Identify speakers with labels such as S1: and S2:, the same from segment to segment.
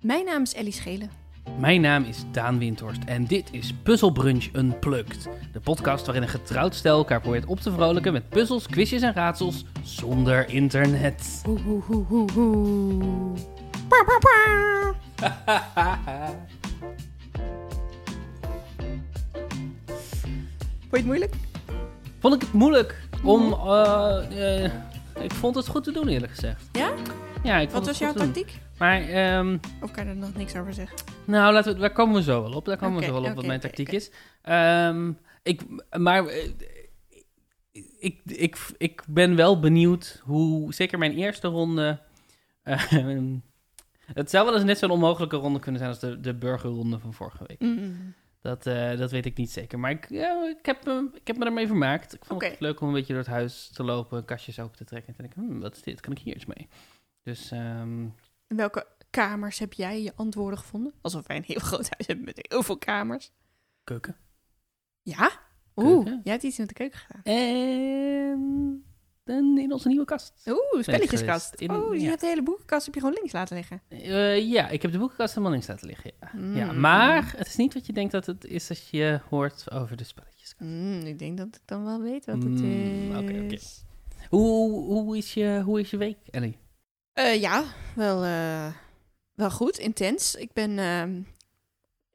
S1: Mijn naam is Ellie Schelen.
S2: Mijn naam is Daan Windhorst en dit is Puzzle Brunch Unplugged. De podcast waarin een getrouwd stel elkaar probeert op te vrolijken met puzzels, quizjes en raadsels zonder internet.
S1: Hoe, hoe, hoe, hoe, hoe. Pa, pa, pa. Vond je het moeilijk?
S2: Vond ik het moeilijk om... eh, eh, ik vond het goed te doen eerlijk gezegd.
S1: Ja?
S2: Ja, ik
S1: Wat was
S2: vond het goed
S1: jouw
S2: te doen.
S1: tactiek?
S2: Maar, ehm,
S1: Of kan je er nog niks over zeggen?
S2: nou, laten we, daar komen we zo wel op. Daar komen
S1: Oké,
S2: we zo wel op
S1: oké,
S2: wat mijn
S1: oké,
S2: tactiek
S1: oké.
S2: is. Ehm, ik, maar... eh, ik, ik, ik ben wel benieuwd hoe, zeker mijn eerste ronde. ehm, het zou wel eens net zo'n onmogelijke ronde kunnen zijn als de, de burgerronde van vorige week.
S1: Mm.
S2: Dat, eh, dat weet ik niet zeker. Maar ik, ja, ik, heb, me- ik heb me ermee vermaakt. Ik vond het
S1: Oké.
S2: leuk om een beetje door het huis te lopen, kastjes open te trekken. En te denken, hmm, wat is dit? Kan ik hier iets mee? Dus ehm,
S1: In welke kamers heb jij je antwoorden gevonden? Alsof wij een heel groot huis hebben met heel veel kamers.
S2: keuken.
S1: Ja? Oeh,
S2: Keuken?
S1: jij hebt iets met de keuken gedaan. Ehm,
S2: En dan in onze nieuwe kast.
S1: Oeh, spelletjeskast.
S2: geweest. In-
S1: oh, je
S2: ja.
S1: hebt de hele boekenkast heb je gewoon links laten liggen.
S2: Eh, ja, ik heb de boekenkast helemaal links laten liggen. Ja. Ja,
S1: Mm.
S2: maar het is niet wat je denkt dat het is als je hoort over de spelletjes.
S1: Mm, ik denk dat ik dan wel weet wat het
S2: Mm,
S1: is.
S2: oké, oké. Hoe, hoe, is je, hoe is je week, Ellie?
S1: Eh, ja, wel, eh, wel goed, intens. Ik ben... ehm,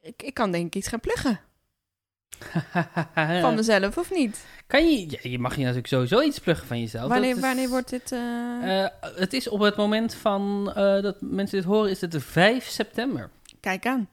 S1: ik, ik kan denk ik iets gaan pluggen
S2: Eh.
S1: van mezelf, of niet?
S2: kan je, ja, je mag je natuurlijk sowieso iets pluggen van jezelf.
S1: Wanneer,
S2: Oh, Dat is-
S1: wanneer wordt dit... eh,
S2: Eh, het is op het moment van eh, dat mensen dit horen, is het de 5 september.
S1: Kijk aan.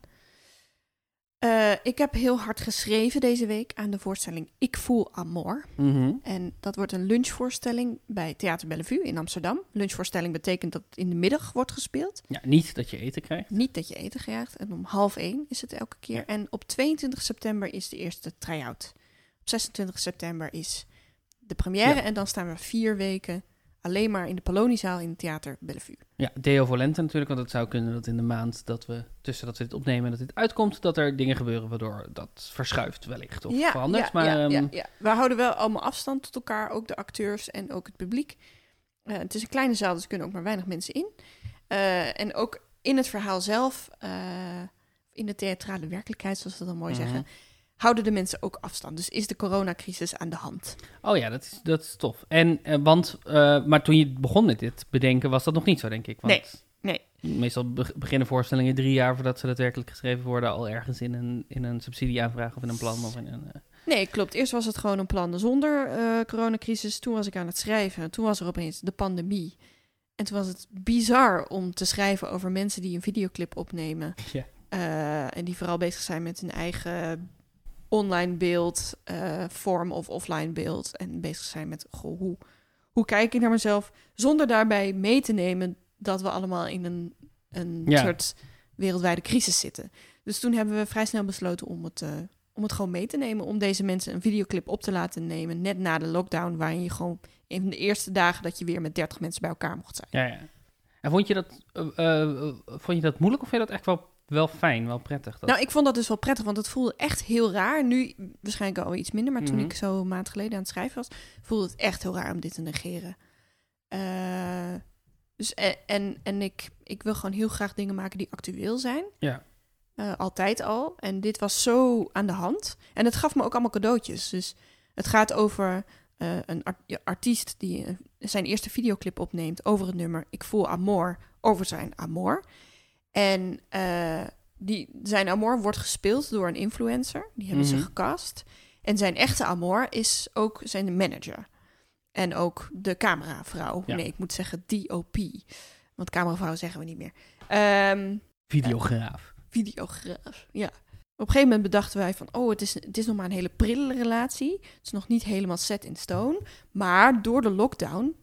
S1: Eh, ik heb heel hard geschreven deze week aan de voorstelling Ik voel Amor.
S2: Mhm.
S1: En dat wordt een lunchvoorstelling bij Theater Bellevue in Amsterdam. Lunchvoorstelling betekent dat het in de middag wordt gespeeld.
S2: Ja, niet dat je eten krijgt.
S1: Niet dat je eten krijgt. En om half één is het elke keer.
S2: Ja.
S1: En op 22 september is de eerste try-out. Op 26 september is de première. En dan staan we vier weken alleen maar in de Pallonizaal in Theater Bellevue.
S2: Ja, Deo Volente natuurlijk, want het zou kunnen dat in de maand dat we tussen dat we dit opnemen en dat dit uitkomt, dat er dingen gebeuren waardoor dat verschuift wellicht of verandert.
S1: ja,
S2: maar
S1: ja, ja,
S2: ehm,
S1: ja. We houden wel allemaal afstand tot elkaar, ook de acteurs en ook het publiek. Eh, het is een kleine zaal, dus er kunnen ook maar weinig mensen in. Eh, en ook in het verhaal zelf, eh, in de theatrale werkelijkheid, zoals we dat dan mooi
S2: Mhm.
S1: zeggen, houden de mensen ook afstand. Dus is de coronacrisis aan de hand.
S2: Oh ja, dat is, dat is tof. En, eh, want, eh, maar toen je begon met dit bedenken, was dat nog niet zo, denk ik. Want
S1: Nee,
S2: Meestal be- beginnen voorstellingen drie jaar voordat ze daadwerkelijk geschreven worden, al ergens in een, in een subsidieaanvraag of in een plan. Of in een, eh,
S1: Nee, klopt. Eerst was het gewoon een plan zonder eh, coronacrisis. Toen was ik aan het schrijven. Toen was er opeens de pandemie. En toen was het bizar om te schrijven over mensen die een videoclip opnemen.
S2: Ja.
S1: Eh, en die vooral bezig zijn met hun eigen online beeld, eh, vorm of offline beeld. En bezig zijn met, goh, hoe, hoe kijk ik naar mezelf? Zonder daarbij mee te nemen dat we allemaal in een, een
S2: Ja.
S1: soort wereldwijde crisis zitten. Dus toen hebben we vrij snel besloten om het eh, om het gewoon mee te nemen. Om deze mensen een videoclip op te laten nemen. Net na de lockdown, waarin je gewoon een van de eerste dagen dat je weer met 30 mensen bij elkaar mocht zijn.
S2: ja, ja. En vond je, dat, eh, eh, vond je dat moeilijk of vond je dat echt wel, wel fijn, wel prettig? Dat...
S1: Nou, ik vond dat dus wel prettig, want het voelde echt heel raar. Nu waarschijnlijk al iets minder, maar toen
S2: Mhm.
S1: ik zo een maand geleden aan het schrijven was, voelde het echt heel raar om dit te negeren. Eh, dus en, en, en ik, ik wil gewoon heel graag dingen maken die actueel zijn.
S2: Ja.
S1: Eh, altijd al. En dit was zo aan de hand. En het gaf me ook allemaal cadeautjes. Dus het gaat over eh, een ar- ja, artiest die eh, zijn eerste videoclip opneemt over het nummer Ik voel Amor, over zijn Amor. En eh, die, zijn Amor wordt gespeeld door een influencer. Die hebben
S2: Mhm.
S1: ze gecast. En zijn echte Amor is ook zijn manager. En ook de cameravrouw.
S2: Ja.
S1: Nee, ik moet zeggen DOP. Want cameravrouw zeggen we niet meer. Ehm
S2: Videograaf.
S1: videograaf. Ja. Op een gegeven moment bedachten wij van, oh, het is, het is nog maar een hele prille relatie. Het is nog niet helemaal set in stone. Maar door de lockdown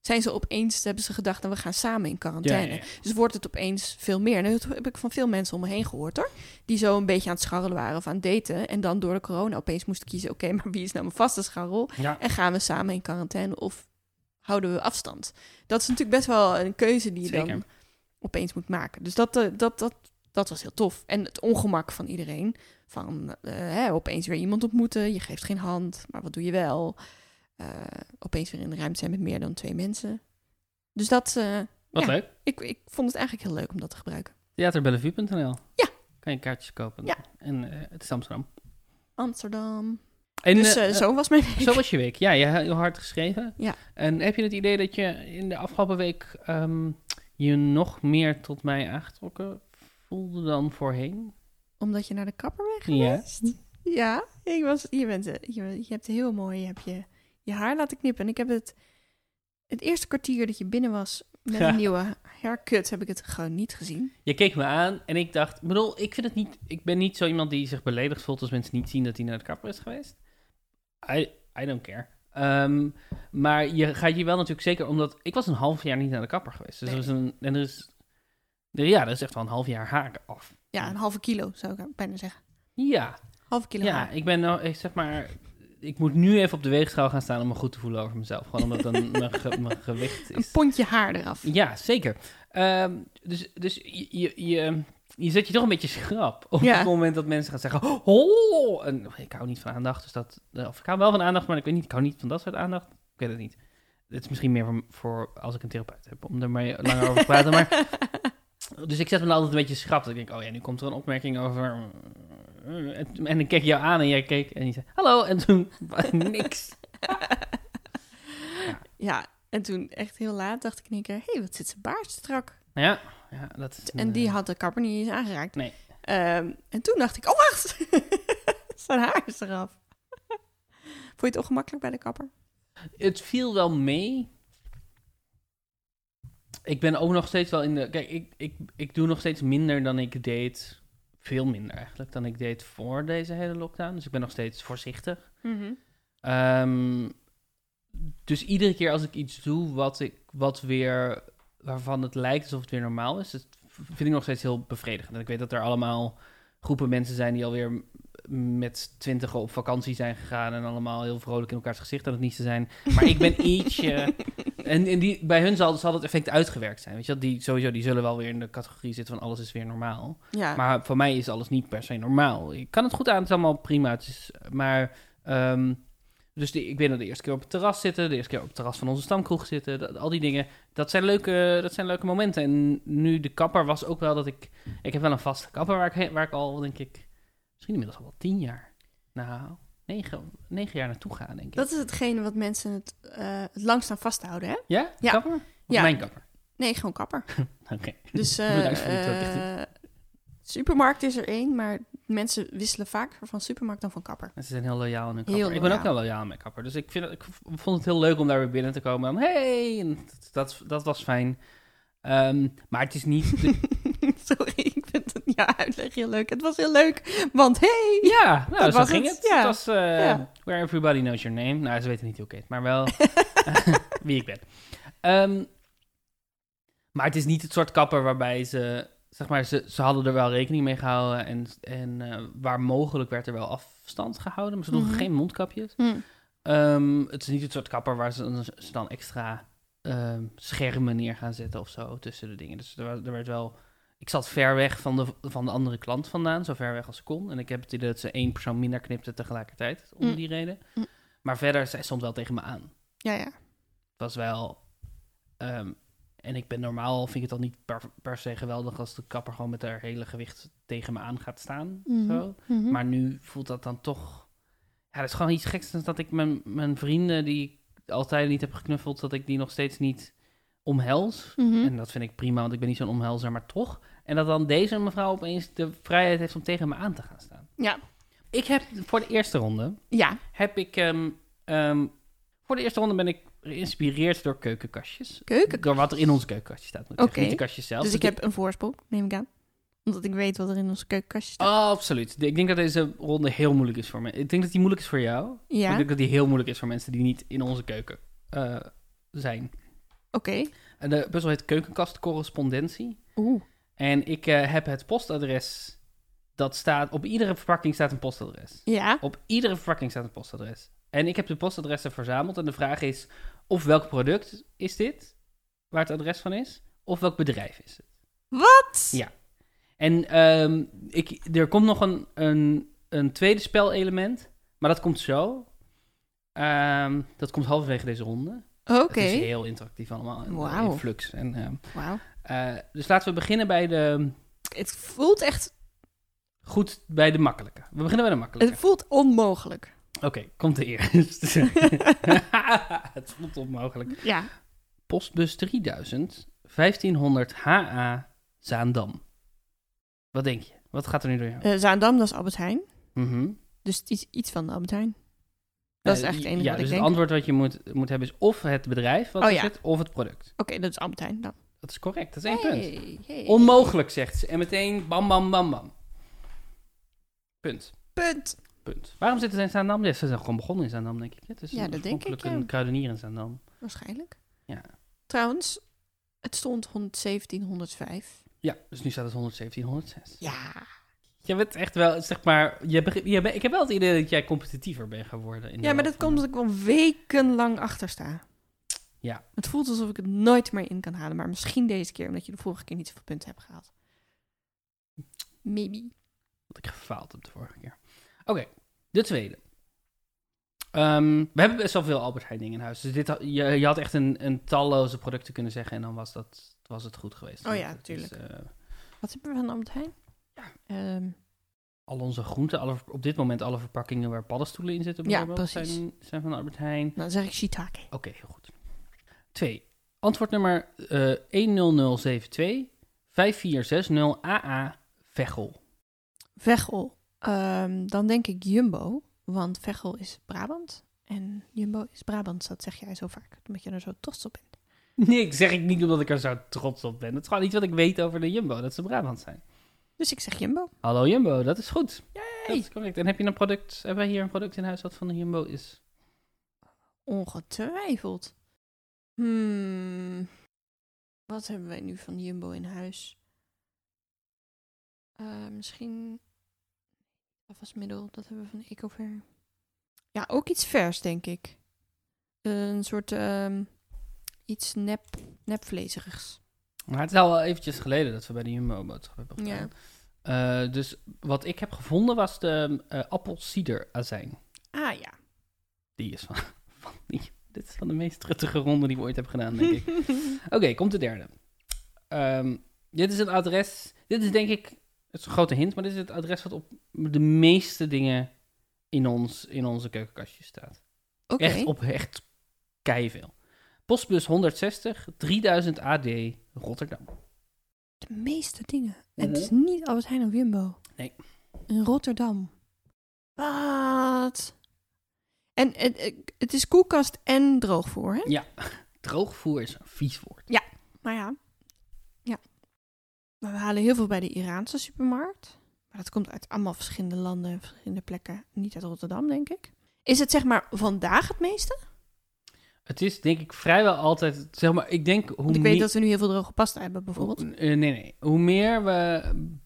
S1: zijn ze opeens, hebben ze gedacht, nou, we gaan samen in
S2: Ja,
S1: quarantaine.
S2: ja, ja.
S1: Dus wordt het opeens veel meer. En dat heb ik van veel mensen om me heen gehoord hoor. Die zo een beetje aan het scharrelen waren of aan het daten. En dan door de corona opeens moesten kiezen, oké, maar wie is nou mijn vaste scharrel?
S2: Ja.
S1: En gaan we samen in quarantaine of houden we afstand? Dat is natuurlijk best wel een keuze die je
S2: Zeker.
S1: dan opeens moet maken. Dus dat, eh, dat, dat, dat was heel tof. En het ongemak van iedereen. Van eh, hè, opeens weer iemand ontmoeten. Je geeft geen hand, maar wat doe je wel? Eh, opeens weer in de ruimte zijn met meer dan twee mensen. Dus dat, eh,
S2: Wat
S1: Ja.
S2: leuk.
S1: ik, ik vond het eigenlijk heel leuk om dat te gebruiken.
S2: Theaterbellevue.nl.
S1: Ja.
S2: Kan je kaartjes kopen.
S1: Ja.
S2: En eh, het is Amsterdam.
S1: Amsterdam.
S2: En,
S1: dus
S2: eh,
S1: eh, zo was mijn week.
S2: Zo was je week. Ja, je hebt heel hard geschreven.
S1: Ja.
S2: En heb je het idee dat je in de afgelopen week ehm, je nog meer tot mij aangetrokken voelde dan voorheen?
S1: Omdat je naar de kapper bent
S2: Ja.
S1: geweest. Ja, ik was, je, bent, eh, je, je hebt heel mooi je, hebt je, je haar laten knippen. En ik heb het, het eerste kwartier dat je binnen was met
S2: Ja.
S1: een nieuwe haircut, heb ik het gewoon niet gezien.
S2: Je keek me aan en ik dacht, ik bedoel, ik vind het niet, ik ben niet zo iemand die zich beledigd voelt als mensen niet zien dat hij naar de kapper is geweest. I, I don't care. Ehm, maar je gaat je wel natuurlijk zeker, omdat ik was een half jaar niet naar de kapper geweest. Dus
S1: Nee.
S2: er is een, en er is, er- ja, dat is echt wel een half jaar haar af.
S1: Ja, een halve kilo zou ik bijna zeggen.
S2: Ja,
S1: Halve kilo
S2: ja,
S1: haar.
S2: ik ben nou, ik zeg maar, ik moet nu even op de weegschaal gaan staan om me goed te voelen over mezelf. Gewoon omdat dan mijn, ge- mijn gewicht
S1: Een
S2: is.
S1: pondje haar eraf.
S2: Ja, zeker. Ehm, dus dus je, je, je, je zet je toch een beetje schrap op
S1: Ja.
S2: het moment dat mensen gaan zeggen... Oh, en ik hou niet van aandacht, dus dat... eh, Of ik hou wel van aandacht, maar ik weet niet, ik hou niet van dat soort aandacht. Ik weet het niet. Het is misschien meer voor, voor als ik een therapeut heb, om er maar langer over te praten. Maar, dus ik zet me dan altijd een beetje schrap. Dat ik denk, oh ja, nu komt er een opmerking over... eh, En, en ik keek jou aan en jij keek en je zei, hallo. En toen, niks.
S1: Ja, en toen echt heel laat dacht ik in één keer, hé, hey, wat zit zijn baard strak.
S2: Nou Ja, ja, dat is... eh,
S1: En die had de kapper niet eens aangeraakt.
S2: Nee.
S1: Ehm, en toen dacht ik, oh wacht, zijn haar is eraf. Vond je het ongemakkelijk bij de kapper?
S2: het viel wel mee. Ik ben ook nog steeds wel in de. Kijk, ik, ik, ik doe nog steeds minder dan ik deed. Veel minder eigenlijk dan ik deed voor deze hele lockdown. Dus ik ben nog steeds voorzichtig. Ehm, dus iedere keer als ik iets doe wat ik wat weer waarvan het lijkt alsof het weer normaal is, dat vind ik nog steeds heel bevredigend. En ik weet dat er allemaal groepen mensen zijn die alweer m- met twintigen op vakantie zijn gegaan en allemaal heel vrolijk in elkaars gezicht aan het niezen zijn. Maar ik ben ietsje. En, en die, bij hun zal, zal het effect uitgewerkt zijn. Weet je, wel? die, sowieso, die zullen wel weer in de categorie zitten van alles is weer normaal.
S1: Ja,
S2: Maar voor mij is alles niet per se normaal. Ik kan het goed aan, het is allemaal prima. Het is, maar, ehm, dus die, ik weet nog de eerste keer op het terras zitten, de eerste keer op het terras van onze stamkroeg zitten, dat- al die dingen. Dat zijn, leuke, dat zijn leuke momenten. En nu de kapper was ook wel dat ik... Ik heb wel een vaste kapper waar ik, heen- waar ik al, denk ik, misschien inmiddels al wel tien jaar... Nou, negen, negen jaar naartoe ga, denk ik.
S1: dat is hetgene wat mensen het, eh, het langst aan vasthouden, hè?
S2: Ja?
S1: Ja.
S2: Kapper? Of
S1: Ja.
S2: mijn kapper?
S1: Nee, gewoon kapper.
S2: Oké.
S1: Dus eh,
S2: Bedankt voor die toelichting.
S1: eh, supermarkt is er één, maar mensen wisselen vaak van supermarkt dan van kapper.
S2: En Ze zijn heel loyaal aan hun
S1: Heel
S2: kapper. ik ben ook heel
S1: loyaal.
S2: loyaal aan mijn kapper. Dus ik, vind, het- ik v- vond het heel leuk om daar weer binnen te komen. En hey, en dat, dat, dat was fijn. Ehm, maar het is niet... de-
S1: Sorry, ik vind het ja, uitleg heel leuk. Het was heel leuk, want hey,
S2: ja, nou,
S1: Dat
S2: zo
S1: was
S2: ging het.
S1: het,
S2: Het,
S1: ja.
S2: was eh,
S1: Ja.
S2: Where Everybody Knows Your Name. Nou, ze weten niet hoe ik heet, maar wel wie ik ben. Ehm, maar het is niet het soort kapper waarbij ze... Zeg maar, ze, ze hadden er wel rekening mee gehouden. En, en eh, waar mogelijk werd er wel afstand gehouden. Maar ze droegen
S1: Mhm.
S2: geen mondkapjes.
S1: Hm,
S2: Ehm, het is niet het soort kapper waar ze, ze dan extra ehm, schermen neer gaan zetten of zo tussen de dingen. Dus er, wa- er werd wel. Ik zat ver weg van de, van de andere klant vandaan, zo ver weg als ik kon. En ik heb het idee dat ze één persoon minder knipte tegelijkertijd, om
S1: Mm.
S2: die reden.
S1: Mm.
S2: Maar verder, zij stond wel tegen me aan. Het
S1: ja, ja.
S2: was wel. ehm, en ik ben normaal, vind ik het dan niet per, per se geweldig als de kapper gewoon met haar hele gewicht tegen me aan gaat staan.
S1: Mhm.
S2: Zo.
S1: Mhm.
S2: Maar nu voelt dat dan toch... Ja, dat is gewoon iets geks dan dat ik mijn, mijn vrienden die ik altijd niet heb geknuffeld, dat ik die nog steeds niet omhels.
S1: Mhm.
S2: En dat vind ik prima, want ik ben niet zo'n omhelzer, maar toch. En dat dan deze mevrouw opeens de vrijheid heeft om tegen me aan te gaan staan.
S1: Ja,
S2: Ik heb voor de eerste ronde,
S1: ja.
S2: heb ik... ehm, ehm, voor de eerste ronde ben ik geïnspireerd door keukenkastjes.
S1: keuken.
S2: Door wat er in onze keukenkastje staat. moet ik zeggen.
S1: Oké.
S2: Niet de kastjes zelf.
S1: Dus ik
S2: heb
S1: heb een voorsprong, neem ik aan. Omdat ik weet wat er in onze keukenkastje staat.
S2: Oh, Absoluut. Ik denk dat deze ronde heel moeilijk is voor me. Ik denk dat die moeilijk is voor jou.
S1: ja,
S2: Ik
S1: oké.
S2: denk dat die heel moeilijk is voor mensen die niet in onze keuken eh, zijn. En de puzzel heet Keukenkast Correspondentie.
S1: Oeh.
S2: En ik eh, heb het postadres. Dat staat, op iedere verpakking staat een postadres.
S1: Ja,
S2: Op iedere verpakking staat een postadres. En ik heb de postadressen verzameld. En de vraag is of welk product is dit, waar het adres van is, of welk bedrijf is het.
S1: wat?
S2: Ja. En ehm, ik, er komt nog een, een, een tweede spelelement, maar dat komt zo. Ehm, dat komt halverwege deze ronde.
S1: Oké,
S2: Het is heel interactief allemaal. En, eh,
S1: Wauw.
S2: In flux. En, ehm,
S1: wauw.
S2: eh, dus laten we beginnen bij de,
S1: het voelt echt...
S2: Goed bij de makkelijke. We beginnen bij de makkelijke.
S1: Het voelt onmogelijk.
S2: Oké, komt de eerst. het voelt onmogelijk.
S1: Ja.
S2: Postbus 3000, 1500 HA, Zaandam. Wat denk je? Wat gaat er nu door jou?
S1: Eh, Zaandam, dat is Albert Heijn.
S2: Mhm.
S1: Dus het is iets van de Albert Heijn. Dat is
S2: Eh,
S1: echt het enige
S2: ja,
S1: wat
S2: dus
S1: ik
S2: het
S1: denk.
S2: antwoord wat je moet, moet hebben is of het bedrijf wat
S1: Oh,
S2: er
S1: ja.
S2: zit, of het product.
S1: Oké, dat is Albert Heijn dan.
S2: Dat is correct, dat is één punt.
S1: Hey, hey.
S2: Onmogelijk, zegt ze. En meteen bam, bam, bam, bam. Punt,
S1: Punt.
S2: punt. Waarom zitten ze in Zaandam? Ja, ze zijn gewoon begonnen in Zaandam, denk ik. Het is
S1: Ja,
S2: een-
S1: dat denk ik,
S2: oorspronkelijk
S1: ja.
S2: een kruidenier in Zaandam.
S1: Waarschijnlijk.
S2: Ja.
S1: Trouwens, het stond 117, 105.
S2: Ja, dus nu staat het 117, 106.
S1: Ja.
S2: Je bent echt wel, zeg maar, je begint- je bent- ik heb wel het idee dat jij competitiever bent geworden. In de
S1: Ja, maar
S2: loop
S1: dat
S2: van-
S1: komt omdat ik al wekenlang achter sta.
S2: Ja.
S1: Het voelt alsof ik het nooit meer in kan halen. Maar misschien deze keer, omdat je de vorige keer niet zoveel punten hebt gehaald. Maybe.
S2: Wat ik gefaald heb de vorige keer. Oké, de tweede. Ehm, we hebben best wel veel Albert Heijn dingen in huis. Dus dit, had- je, je had echt een, een talloze producten kunnen zeggen en dan was, dat, was het goed geweest.
S1: Oh
S2: Want
S1: ja,
S2: het is, eh,
S1: Wat hebben we van Albert Heijn?
S2: Ja.
S1: Ehm,
S2: al onze groenten, alle, op dit moment alle verpakkingen waar paddenstoelen in zitten
S1: Ja,
S2: bijvoorbeeld,
S1: precies.
S2: zijn, zijn van Albert Heijn.
S1: Nou, dan zeg ik shiitake.
S2: Oké, heel goed. Twee. Antwoord nummer eh 10072 5460 AA Veghel.
S1: Veghel. Ehm, dan denk ik Jumbo, want Veghel is Brabant. En Jumbo is Brabant, dat zeg jij zo vaak, omdat je er zo trots op bent.
S2: Nee, ik zeg ik niet omdat ik er zo trots op ben. Dat is gewoon iets wat ik weet over de Jumbo, dat ze Brabant zijn.
S1: Dus ik zeg Jumbo.
S2: Hallo Jumbo, dat is goed. Dat
S1: Hey,
S2: is correct. En heb je een product, hebben wij hier een product in huis dat van de Jumbo is?
S1: ongetwijfeld. Hmm. Wat hebben wij nu van Jumbo in huis? Eh, misschien afwasmiddel, dat hebben we van Ecover. Ja, ook iets vers, denk ik. Een soort ehm, iets nep, nepvlezerigs.
S2: Maar het is al wel eventjes geleden dat we bij de Jumbo boodschap hebben gedaan.
S1: Ja.
S2: Eh, dus wat ik heb gevonden was de eh appelsiederazijn.
S1: Ah ja.
S2: Die is van, van die, dit is van de meest truttige ronde die we ooit hebben gedaan, denk ik. Oké, komt de derde. Ehm, dit is het adres. Dit is denk ik. Het is een grote hint, maar dit is het adres wat op de meeste dingen in, ons, in onze keukenkastje staat.
S1: Oké.
S2: Echt op echt keiveel. Postbus 160 3000 AD Rotterdam.
S1: De meeste dingen. En
S2: Mhm.
S1: het is niet Albert Heijn of Jumbo.
S2: Nee.
S1: In Rotterdam. Wat? En en, eh, het is koelkast en droogvoer, hè?
S2: Droogvoer is een vies woord.
S1: Maar Nou ja. Ja. Maar we halen heel veel bij de Iraanse supermarkt. Maar dat komt uit allemaal verschillende landen en verschillende plekken. Niet uit Rotterdam, denk ik. Is het zeg maar vandaag het meeste?
S2: Het is denk ik vrijwel altijd. Zeg maar, ik denk hoe
S1: Want ik
S2: meer-
S1: weet dat we nu heel veel droge pasta hebben, bijvoorbeeld.
S2: Hoe- eh, nee, nee. Hoe meer we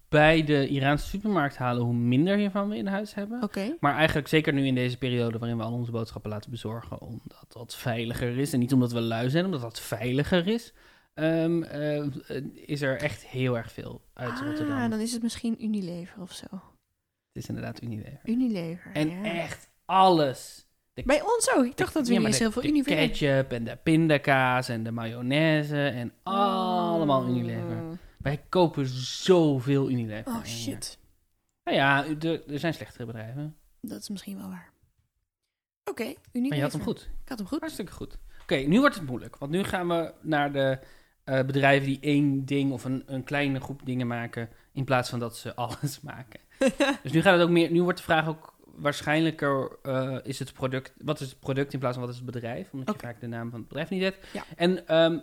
S2: bij de Iraanse supermarkt halen, hoe minder hiervan we in huis hebben.
S1: Oké.
S2: Maar eigenlijk zeker nu in deze periode waarin we al onze boodschappen laten bezorgen, omdat dat veiliger is. En niet omdat we lui zijn, omdat dat veiliger is. ehm, eh, eh, is er echt heel erg veel uit Rotterdam.
S1: Ah, dan is het misschien Unilever of zo.
S2: Het is inderdaad Unilever.
S1: Unilever.
S2: En
S1: Ah, ja.
S2: echt alles.
S1: Bij ons ook. Ik dacht dat we
S2: Ja,
S1: niet
S2: maar
S1: eens
S2: de-
S1: heel veel
S2: de
S1: Unilever
S2: ketchup en de pindakaas en de mayonaise en
S1: Oh.
S2: allemaal Unilever. Wij kopen zoveel Unilever.
S1: Oh
S2: in hier.
S1: shit.
S2: Nou ja, er, er zijn slechtere bedrijven.
S1: Dat is misschien wel waar. Oké, Unilever.
S2: Maar je had hem goed.
S1: Ik had hem goed.
S2: Hartstikke goed. Oké, nu wordt het moeilijk. Want nu gaan we naar de eh, bedrijven die één ding of een, een kleine groep dingen maken. In plaats van dat ze alles maken. dus nu gaat het ook meer. Nu wordt de vraag ook waarschijnlijker: eh, is het product, wat is het product in plaats van wat is het bedrijf? Omdat
S1: Oké.
S2: je vaak de naam van het bedrijf niet weet.
S1: Ja.
S2: En ehm,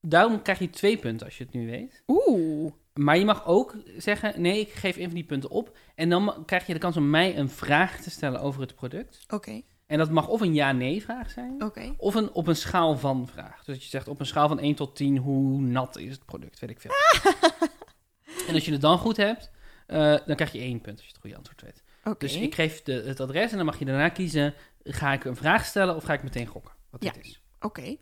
S2: daarom krijg je twee punten als je het nu weet.
S1: Oeh.
S2: Maar je mag ook zeggen: nee, ik geef een van die punten op. En dan ma- krijg je de kans om mij een vraag te stellen over het product.
S1: Oké,
S2: En dat mag of een ja-nee-vraag zijn.
S1: oké.
S2: Of een op een schaal van vraag. Dus dat je zegt op een schaal van 1 tot 10, hoe nat is het product? Weet ik veel. en als je het dan goed hebt, eh, dan krijg je één punt als je het goede antwoord weet.
S1: Oké.
S2: Dus ik geef de, het adres en dan mag je daarna kiezen: ga ik een vraag stellen of ga ik meteen gokken? Wat
S1: Ja.
S2: dit is.
S1: Oké.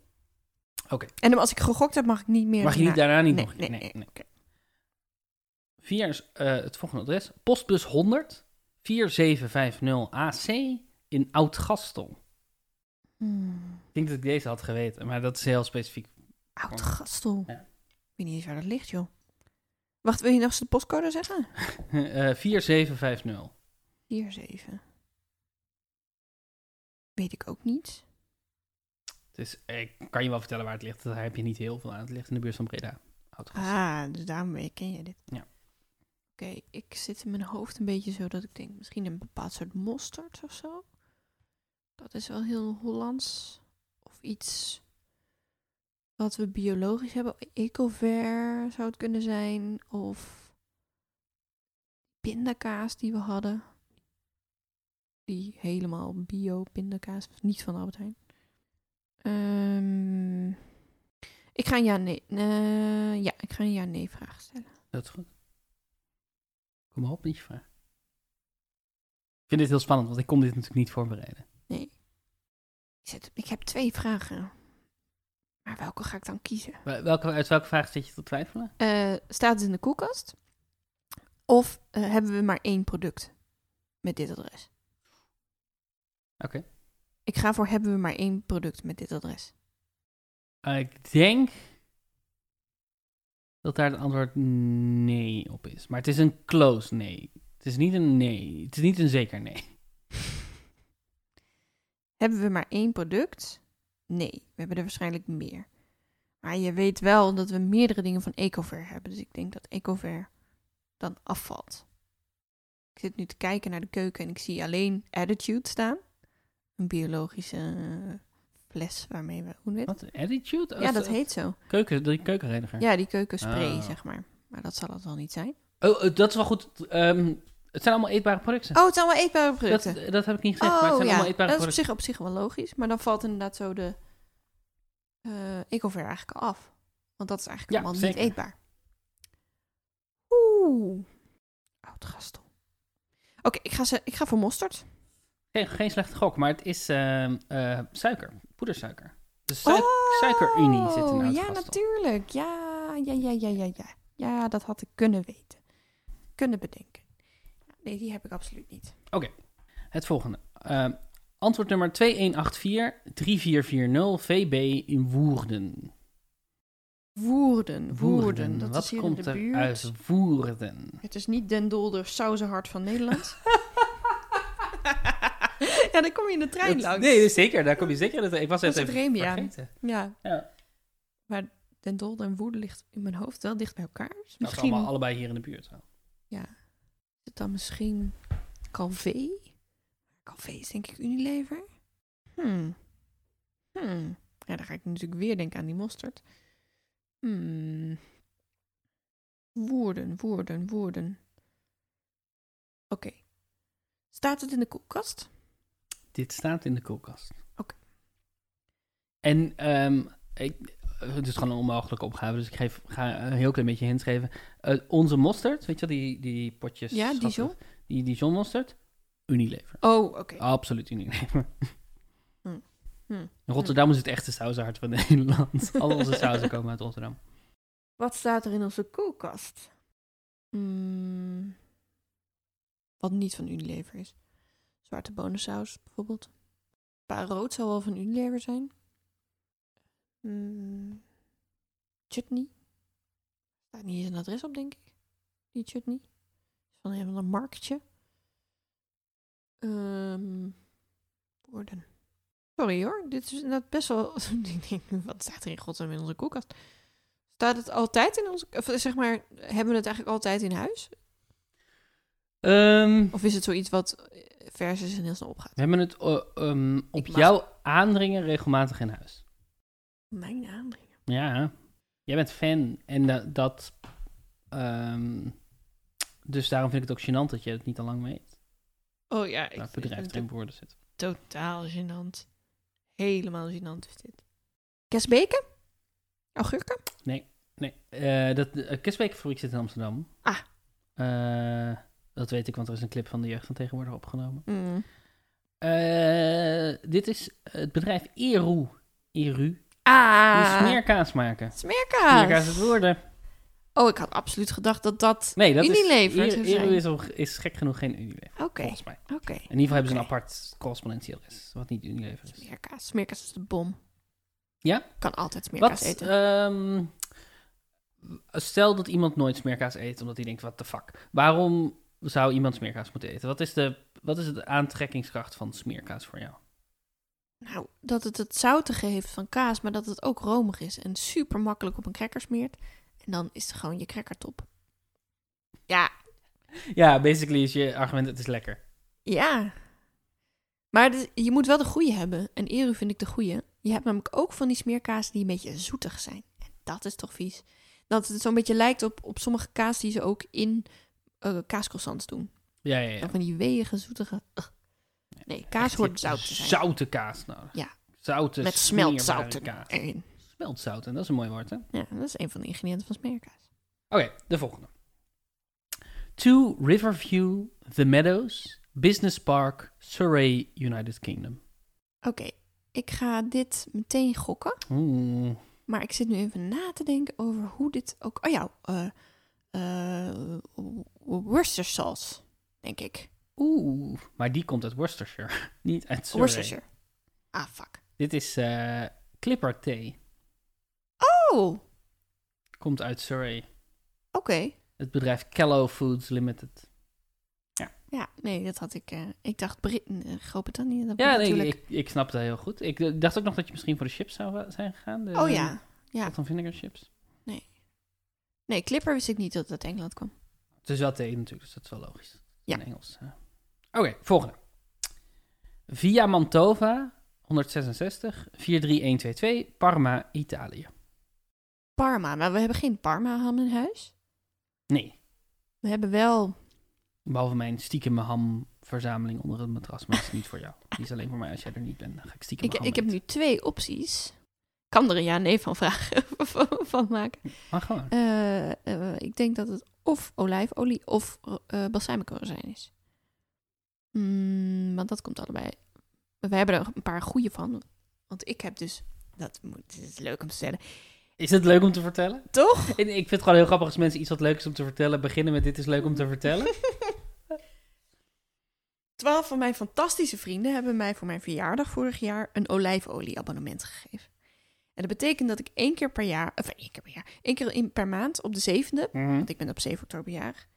S2: Oké.
S1: En als ik gegokt heb, mag ik niet meer.
S2: Mag je niet daarna niet
S1: Nee,
S2: nog?
S1: nee, nee. Oké.
S2: Via is, eh, het volgende adres: postbus 100 4750 AC in Oud-Gastel.
S1: Hmm.
S2: Ik denk dat ik deze had geweten, maar dat is heel specifiek.
S1: Oud gastel.
S2: Ja.
S1: Ik weet niet eens waar dat ligt, joh. Wacht, wil je nog eens de postcode zeggen?
S2: Eh, 4750.
S1: 47. Weet ik ook niet.
S2: Dus eh, ik kan je wel vertellen waar het ligt. Daar heb je niet heel veel aan. Het ligt in de buurt van Breda. Oudgast.
S1: Ah, dus daarom weet- ken je dit.
S2: Ja.
S1: Oké, ik zit in mijn hoofd een beetje zo dat ik denk, misschien een bepaald soort mosterd of zo. Dat is wel heel Hollands. Of iets wat we biologisch hebben. Ecover zou het kunnen zijn. Of pindakaas die we hadden. Die helemaal bio pindakaas was. Niet van Albert Heijn. Ehm, ik ga een ja-nee. eh, ja, ik ga een ja-nee vraag stellen.
S2: Dat is goed. Kom maar op met je vraag. Ik vind dit heel spannend, want ik kon dit natuurlijk niet voorbereiden.
S1: Nee. Ik, zet, ik heb twee vragen. Maar welke ga ik dan kiezen?
S2: Wel- Welke, uit welke vraag zit je te twijfelen?
S1: Eh, staat het in de koelkast? Of eh, hebben we maar één product met dit adres?
S2: Oké.
S1: Ik ga voor hebben we maar één product met dit adres.
S2: Eh, ik denk dat daar het antwoord nee op is. Maar het is een close nee. Het is niet een nee. Het is niet een zeker nee.
S1: Hebben we maar één product? Nee, we hebben er waarschijnlijk meer. Maar je weet wel dat we meerdere dingen van Ecover hebben. Dus ik denk dat Ecover dan afvalt. Ik zit nu te kijken naar de keuken en ik zie alleen Attitude staan. Een biologische eh, fles waarmee we groen wit.
S2: Wat? Attitude? Oh,
S1: Ja,
S2: is
S1: dat heet zo.
S2: Keuken, de keukenreiniger.
S1: Ja, die keukenspray,
S2: Ah.
S1: zeg maar. Maar dat zal het wel niet zijn.
S2: Oh, eh, dat is wel goed. Ehm, het zijn allemaal eetbare producten.
S1: Oh, het zijn wel eetbare
S2: dat,
S1: producten.
S2: dat heb ik niet gezegd, maar het zijn allemaal eetbare
S1: Oh, dat is op
S2: producten.
S1: zich, op zich wel logisch. Maar dan valt inderdaad zo de eh ecover eigenlijk af. Want dat is eigenlijk
S2: Ja,
S1: allemaal
S2: zeker.
S1: niet eetbaar. Oeh. Oud gastel. Oké, ik, ga ze- ik ga voor mosterd.
S2: Geen, geen slechte gok, maar het is ehm, eh, suiker. Poedersuiker. Dus suik-
S1: oh,
S2: suikerunie zit in Oud
S1: Ja,
S2: Gastel.
S1: natuurlijk. Ja, ja, ja, ja, ja, ja. Ja, dat had ik kunnen weten. Kunnen bedenken. Nee, die heb ik absoluut niet.
S2: Het volgende. Ehm, antwoord nummer 2184-3440 VB in Woerden.
S1: Woerden, woerden. Dat
S2: Wat
S1: is hier
S2: komt
S1: in de
S2: er
S1: buurt.
S2: uit Woerden?
S1: Het is niet den dolder sauzenhart van Nederland. ja, dan kom je in de trein
S2: Dat-
S1: langs.
S2: Nee, dus- zeker. Daar kom je zeker. uit. Ik was
S1: Dat
S2: het
S1: is het
S2: even
S1: Remiaan.
S2: vergeten.
S1: Ja.
S2: Ja.
S1: Maar den dolder en woerden ligt in mijn hoofd wel dicht bij elkaar. Dus
S2: Dat is
S1: misschien
S2: allemaal allebei hier in de buurt. wel.
S1: ja. Is het dan misschien Calvé? Calvé is denk ik Unilever. Hmm. Hmm. Ja, dan ga ik natuurlijk weer denken aan die mosterd. Hmm. Woerden, woerden, woerden. Oké. Staat het in de koelkast?
S2: Dit staat in de koelkast.
S1: Oké.
S2: En ehm, ik, het is gewoon een onmogelijke opgave, dus ik geef, ga een heel klein beetje hints geven. Eh, onze mosterd, weet je wel, die, die potjes...
S1: Ja,
S2: schattig-
S1: Dijon.
S2: Die Dijon mosterd, Unilever.
S1: Oh, oké.
S2: Absoluut Unilever.
S1: Hm. Hm.
S2: In Rotterdam is het echte saushart van Nederland. Al onze sauzen komen uit Rotterdam.
S1: Wat staat er in onze koelkast? Hmm, wat niet van Unilever is. Zwarte bonensaus bijvoorbeeld. Parood zou wel van Unilever zijn. Hmm, chutney. Staat niet eens een adres op, denk ik. Die chutney. Is van een of ander marktje. Ehm woorden. Sorry hoor, dit is inderdaad best wel... ik denk, wat staat er in godsnaam in onze koelkast? Staat het altijd in onze... Of zeg maar, hebben we het eigenlijk altijd in huis?
S2: Ehm,
S1: Of is het zoiets wat eh, vers is en heel snel opgaat?
S2: we hebben het eh, ehm, op
S1: Ik mag-
S2: jouw aandringen regelmatig in huis.
S1: Mijn aandringen.
S2: Ja, jij bent fan en da- dat. ehm, dus daarom vind ik het ook gênant dat je het niet al lang weet.
S1: Oh ja, ik
S2: Dat het
S1: vind
S2: bedrijf
S1: het
S2: erin woorden zit.
S1: totaal gênant. Helemaal gênant is dit. Kesbeken? Augurken?
S2: Nee, eh, dat uh, Kisbeekfabriek zit in Amsterdam.
S1: Ah.
S2: Eh, dat weet ik, want er is een clip van de jeugd van tegenwoordig opgenomen.
S1: Mm.
S2: Eh, dit is het bedrijf Eru. Eru. Die
S1: Ah,
S2: smeerkaas maken.
S1: smeerkaas.
S2: Smeerkaas het woorden.
S1: Oh, ik had absoluut gedacht dat dat...
S2: Nee, dat
S1: Unilever
S2: is...
S1: zou
S2: Eru-
S1: zijn.
S2: Eru is, al- is gek genoeg geen Unilever,
S1: Oké,
S2: volgens mij.
S1: oké.
S2: In ieder geval hebben ze een
S1: Oké.
S2: apart correspondentieadres, wat niet Unilever is.
S1: Smeerkaas. Smeerkaas is de bom.
S2: Ja?
S1: Kan altijd smeerkaas
S2: Wat,
S1: eten.
S2: ehm, Stel dat iemand nooit smeerkaas eet, omdat hij denkt, wat the fuck. Waarom zou iemand smeerkaas moeten eten? Wat is, de, wat is de aantrekkingskracht van smeerkaas voor jou?
S1: Nou, dat het het zoutige heeft van kaas, maar dat het ook romig is en super makkelijk op een cracker smeert. En dan is het gewoon je crackertop. Ja,
S2: Ja, basically is je argument, het is lekker.
S1: ja. Maar het is- je moet wel de goede hebben. En Eru vind ik de goede. Je hebt namelijk ook van die smeerkaas die een beetje zoetig zijn. En dat is toch vies. Dat het zo'n beetje lijkt op, op sommige kaas die ze ook in eh kaascroissants doen.
S2: Ja, ja, ja.
S1: Van die weege, zoetige... ugh. Nee, kaas
S2: Echt
S1: hoort
S2: die
S1: zout te zijn.
S2: Zoute kaas nodig.
S1: Ja.
S2: Zoute,
S1: Met
S2: smeerbare
S1: smeltzouten
S2: kaas.
S1: erin.
S2: Smeltzouten, dat is een mooi woord, hè?
S1: Ja, dat is een van de ingrediënten van smeerkaas.
S2: Oké, de volgende. To Riverview, The Meadows, Business Park, Surrey, United Kingdom.
S1: Oké, ik ga dit meteen gokken.
S2: Oeh.
S1: Maar ik zit nu even na te denken over hoe dit ook... Oh ja, eh eh, Worcester sauce, denk ik.
S2: Oeh. Maar die komt uit Worcestershire, niet uit Surrey.
S1: Worcestershire. Ah, fuck.
S2: Dit is eh Clipper Thee.
S1: Oh, oké.
S2: Komt uit Surrey. Het bedrijf Callow Foods Limited.
S1: Ja, nee, dat had ik... eh, ik dacht Britten, eh, Groot-Brittannië. Dat
S2: Ja,
S1: wordt
S2: nee,
S1: natuurlijk...
S2: ik, ik snap dat heel goed. Ik eh, dacht ook nog dat je misschien voor de chips zou eh, zijn gegaan. De,
S1: Oh ja. ja.
S2: Van vinegar chips.
S1: Nee, Clipper wist ik niet dat het uit Engeland kwam.
S2: Het is wel thee natuurlijk, dus dat is wel logisch.
S1: Ja.
S2: In Engels. hè. Oké, volgende. Via Mantova, 166, 43122, Parma, Italië.
S1: Parma, maar we hebben geen Parma-ham in huis.
S2: Nee,
S1: We hebben wel
S2: behalve mijn stiekeme hamverzameling onder het matras, maar dat is niet voor jou. Die is alleen voor mij als jij er niet bent. Dan ga ik stiekem
S1: Ik,
S2: ham
S1: ik heb
S2: eten.
S1: nu twee opties. Ik kan er een ja-nee van vragen van, van maken.
S2: Maar gewoon.
S1: Eh, eh, ik denk dat het of olijfolie of eh balsamicorozijn is. Mm, want dat komt allebei. We hebben er een paar goede van. Want ik heb dus... Dat moet, het is leuk om te stellen.
S2: Is het leuk om te vertellen?
S1: Toch?
S2: En ik vind het gewoon heel grappig als mensen iets wat leuks om te vertellen beginnen met dit is leuk om te vertellen.
S1: Twaalf van mijn fantastische vrienden hebben mij voor mijn verjaardag vorig jaar een olijfolieabonnement gegeven. En dat betekent dat ik één keer per jaar, of één keer per jaar, één keer in, per maand op de zevende
S2: Mhm.
S1: want ik ben op 7 oktober jarig,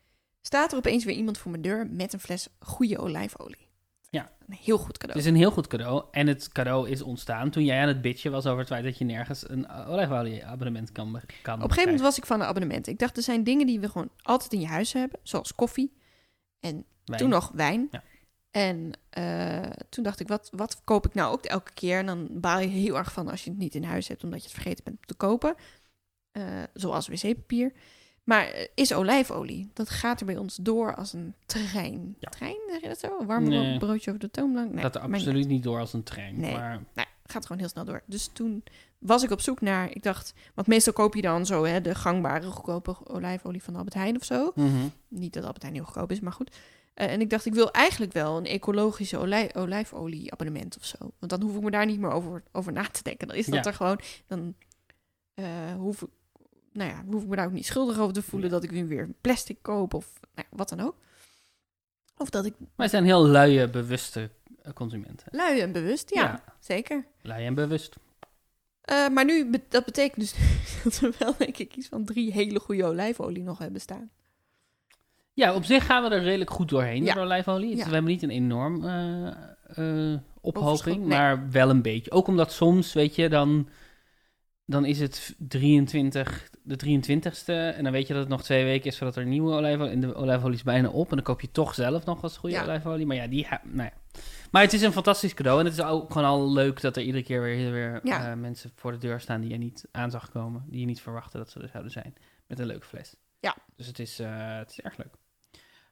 S1: staat er opeens weer iemand voor mijn deur met een fles goede olijfolie.
S2: Ja. Dus
S1: Een heel goed
S2: Het
S1: cadeau.
S2: is een heel goed cadeau. En het cadeau is ontstaan toen jij aan het bitchen was over het feit dat je nergens een olijfolieabonnement kan, be- kan
S1: op een gegeven moment was ik van een abonnement. Ik dacht, er zijn dingen die we gewoon altijd in je huis hebben, zoals koffie,
S2: Wijn.
S1: toen nog wijn.
S2: Ja.
S1: En eh, toen dacht ik, wat, wat koop ik nou ook elke keer? En dan baal je heel erg van als je het niet in huis hebt, omdat je het vergeten bent te kopen. Eh, zoals wc-papier. Maar eh, is olijfolie, dat gaat er bij ons door als een trein.
S2: Ja.
S1: Trein, zeg je dat zo? Een warm
S2: Nee.
S1: broodje over de toonbank? Nee,
S2: gaat er
S1: maakt niet
S2: absoluut niet door als een trein.
S1: Nee.
S2: Maar
S1: nou, gaat gewoon heel snel door. Dus toen was ik op zoek naar, ik dacht, want meestal koop je dan zo hè, de gangbare goedkope olijfolie van Albert Heijn of zo.
S2: Mhm.
S1: Niet dat Albert Heijn heel goedkoop is, maar goed. Eh, en ik dacht, ik wil eigenlijk wel een ecologische olij olijfolie abonnement of zo. Want dan hoef ik me daar niet meer over, over na te denken. Dan is dat
S2: Ja.
S1: er gewoon, dan eh, hoef, ik, nou ja, hoef ik me daar ook niet schuldig over te voelen dat ik nu weer plastic koop of nou, ja, wat dan ook. Of dat ik
S2: wij zijn heel luie, bewuste eh, consumenten.
S1: lui en bewust, ja. zeker.
S2: lui en bewust.
S1: Eh, maar nu, bet- dat betekent dus dat we wel denk ik iets van drie hele goede olijfolie nog hebben staan.
S2: Ja, op zich gaan we er redelijk goed doorheen
S1: Ja.
S2: door olijfolie. Het-
S1: Ja.
S2: We hebben niet een enorm eh, eh,
S1: Overschot,
S2: ophoging,
S1: nee.
S2: maar wel een beetje. Ook omdat soms, weet je, dan, dan is het 23, de 23ste en dan weet je dat het nog twee weken is voordat er nieuwe olijfolie... En de olijfolie is bijna op en dan koop je toch zelf nog als goede
S1: Ja.
S2: olijfolie. Maar ja, die... ha- nou ja. Maar het is een fantastisch cadeau en het is ook gewoon al leuk dat er iedere keer weer, weer
S1: Ja.
S2: eh, mensen voor de deur staan die je niet aan zag komen. Die je niet verwachtte dat ze er zouden zijn met een leuke fles.
S1: Ja.
S2: Dus het is, eh, het is erg leuk.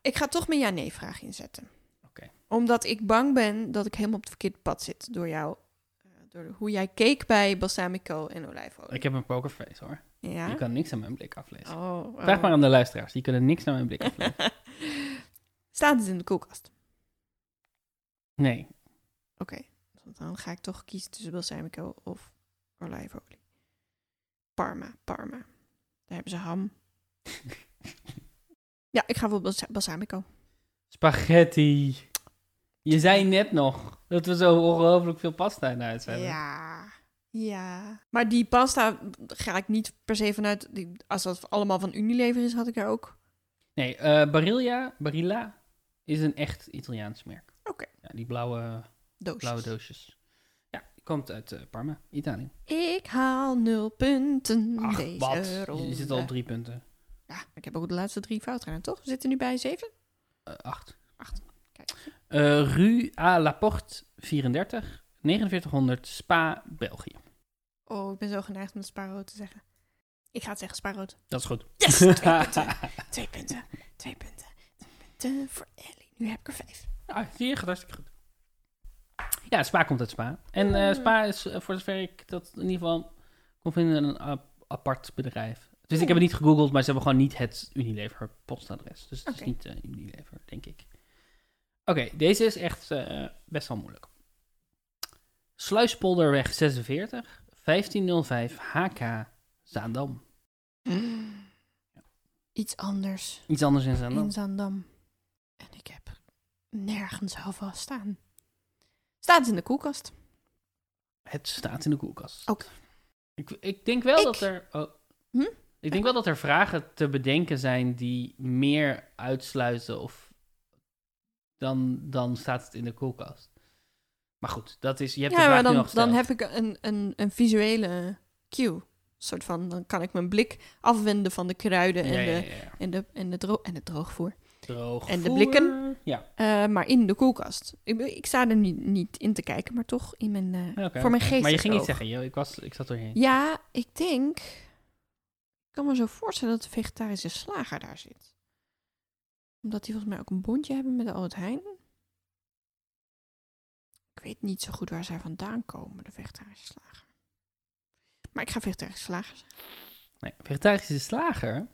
S1: Ik ga toch mijn ja-nee-vraag inzetten.
S2: Oké.
S1: Omdat ik bang ben dat ik helemaal op het verkeerde pad zit door jou. eh, Door hoe jij keek bij balsamico en olijfolie.
S2: Ik heb een pokerface hoor.
S1: Ja?
S2: Je kan niks aan mijn blik aflezen.
S1: Oh, oh.
S2: Vraag maar aan de luisteraars, die kunnen niks aan mijn blik aflezen.
S1: Staat het in de koelkast?
S2: Nee,
S1: Oké. Want Dan ga ik toch kiezen tussen balsamico of olijfolie. Parma, Parma. Daar hebben ze ham. ja, ik ga voor balsa- balsamico.
S2: spaghetti. Je zei net nog dat we zo ongelooflijk veel pasta in huis hebben.
S1: Ja. Ja. Maar die pasta ga ik niet per se vanuit. die- Als dat allemaal van Unilever is, had ik daar ook.
S2: Nee, eh Barilla, Barilla is een echt Italiaans merk.
S1: Oké.
S2: Ja, die blauwe,
S1: Doosjes.
S2: blauwe doosjes. Ja, die komt uit eh, Parma, Italië.
S1: Ik haal nul punten
S2: Ach,
S1: deze
S2: wat?
S1: ronde.
S2: Je zit al op drie punten.
S1: Ja, ik heb ook de laatste drie fout gedaan, toch? We zitten nu bij zeven.
S2: Eh, acht.
S1: Acht. Kijk.
S2: Eh, Rue à la Porte 34, 4900 Spa, België.
S1: Oh, ik ben zo geneigd om het spaarrood te zeggen. Ik ga het zeggen, spaarrood.
S2: Dat is goed.
S1: Yes! Twee punten. Twee punten. Twee punten. Twee punten voor Ellie. Nu heb ik er vijf.
S2: Ah, zie je, gaat hartstikke goed. Ja, Spa komt uit Spa. En eh,
S1: Mm.
S2: Spa is, eh, voor zover ik dat in ieder geval kon vinden, een ap- apart bedrijf. Dus ik
S1: Mm.
S2: heb het niet gegoogeld, maar ze hebben gewoon niet het Unilever postadres. Dus het
S1: Oké.
S2: is niet eh, Unilever, denk ik. Oké, deze is echt eh, best wel moeilijk. Sluispolderweg 46, 1505 HK Zaandam. Mm.
S1: Iets anders
S2: Iets anders in Zaandam.
S1: in Zandam. En ik heb nergens alvast staan. Staat het in de koelkast?
S2: Het staat in de koelkast.
S1: Oké.
S2: Ik, ik denk wel
S1: Ik-
S2: dat er. oh.
S1: Hm?
S2: Ik denk wel dat er vragen te bedenken zijn die meer uitsluiten of dan, dan staat het in de koelkast. Maar goed, dat is. Je hebt de
S1: ja,
S2: vraag
S1: maar
S2: nu
S1: dan,
S2: al gesteld.
S1: dan heb ik een, een, een visuele cue. soort van, dan kan ik mijn blik afwenden van de kruiden en,
S2: Ja, ja,
S1: de,
S2: ja, ja.
S1: en, de, en, de, dro- en het droogvoer.
S2: Droog
S1: en de
S2: voer.
S1: blikken.
S2: Ja,
S1: Eh, maar in de koelkast. Ik, be- ik sta er niet, niet in te kijken, maar toch in mijn, eh,
S2: oké.
S1: voor mijn geest.
S2: maar je ging niet zeggen. joh, Ik, was, ik zat doorheen.
S1: Ja, ik denk. Ik kan me zo voorstellen dat de vegetarische slager daar zit. Omdat die volgens mij ook een bondje hebben met de Albert Heijn. Ik weet niet zo goed waar zij vandaan komen, de vegetarische slager. Maar ik ga vegetarische slager zeggen.
S2: Nee, vegetarische slager,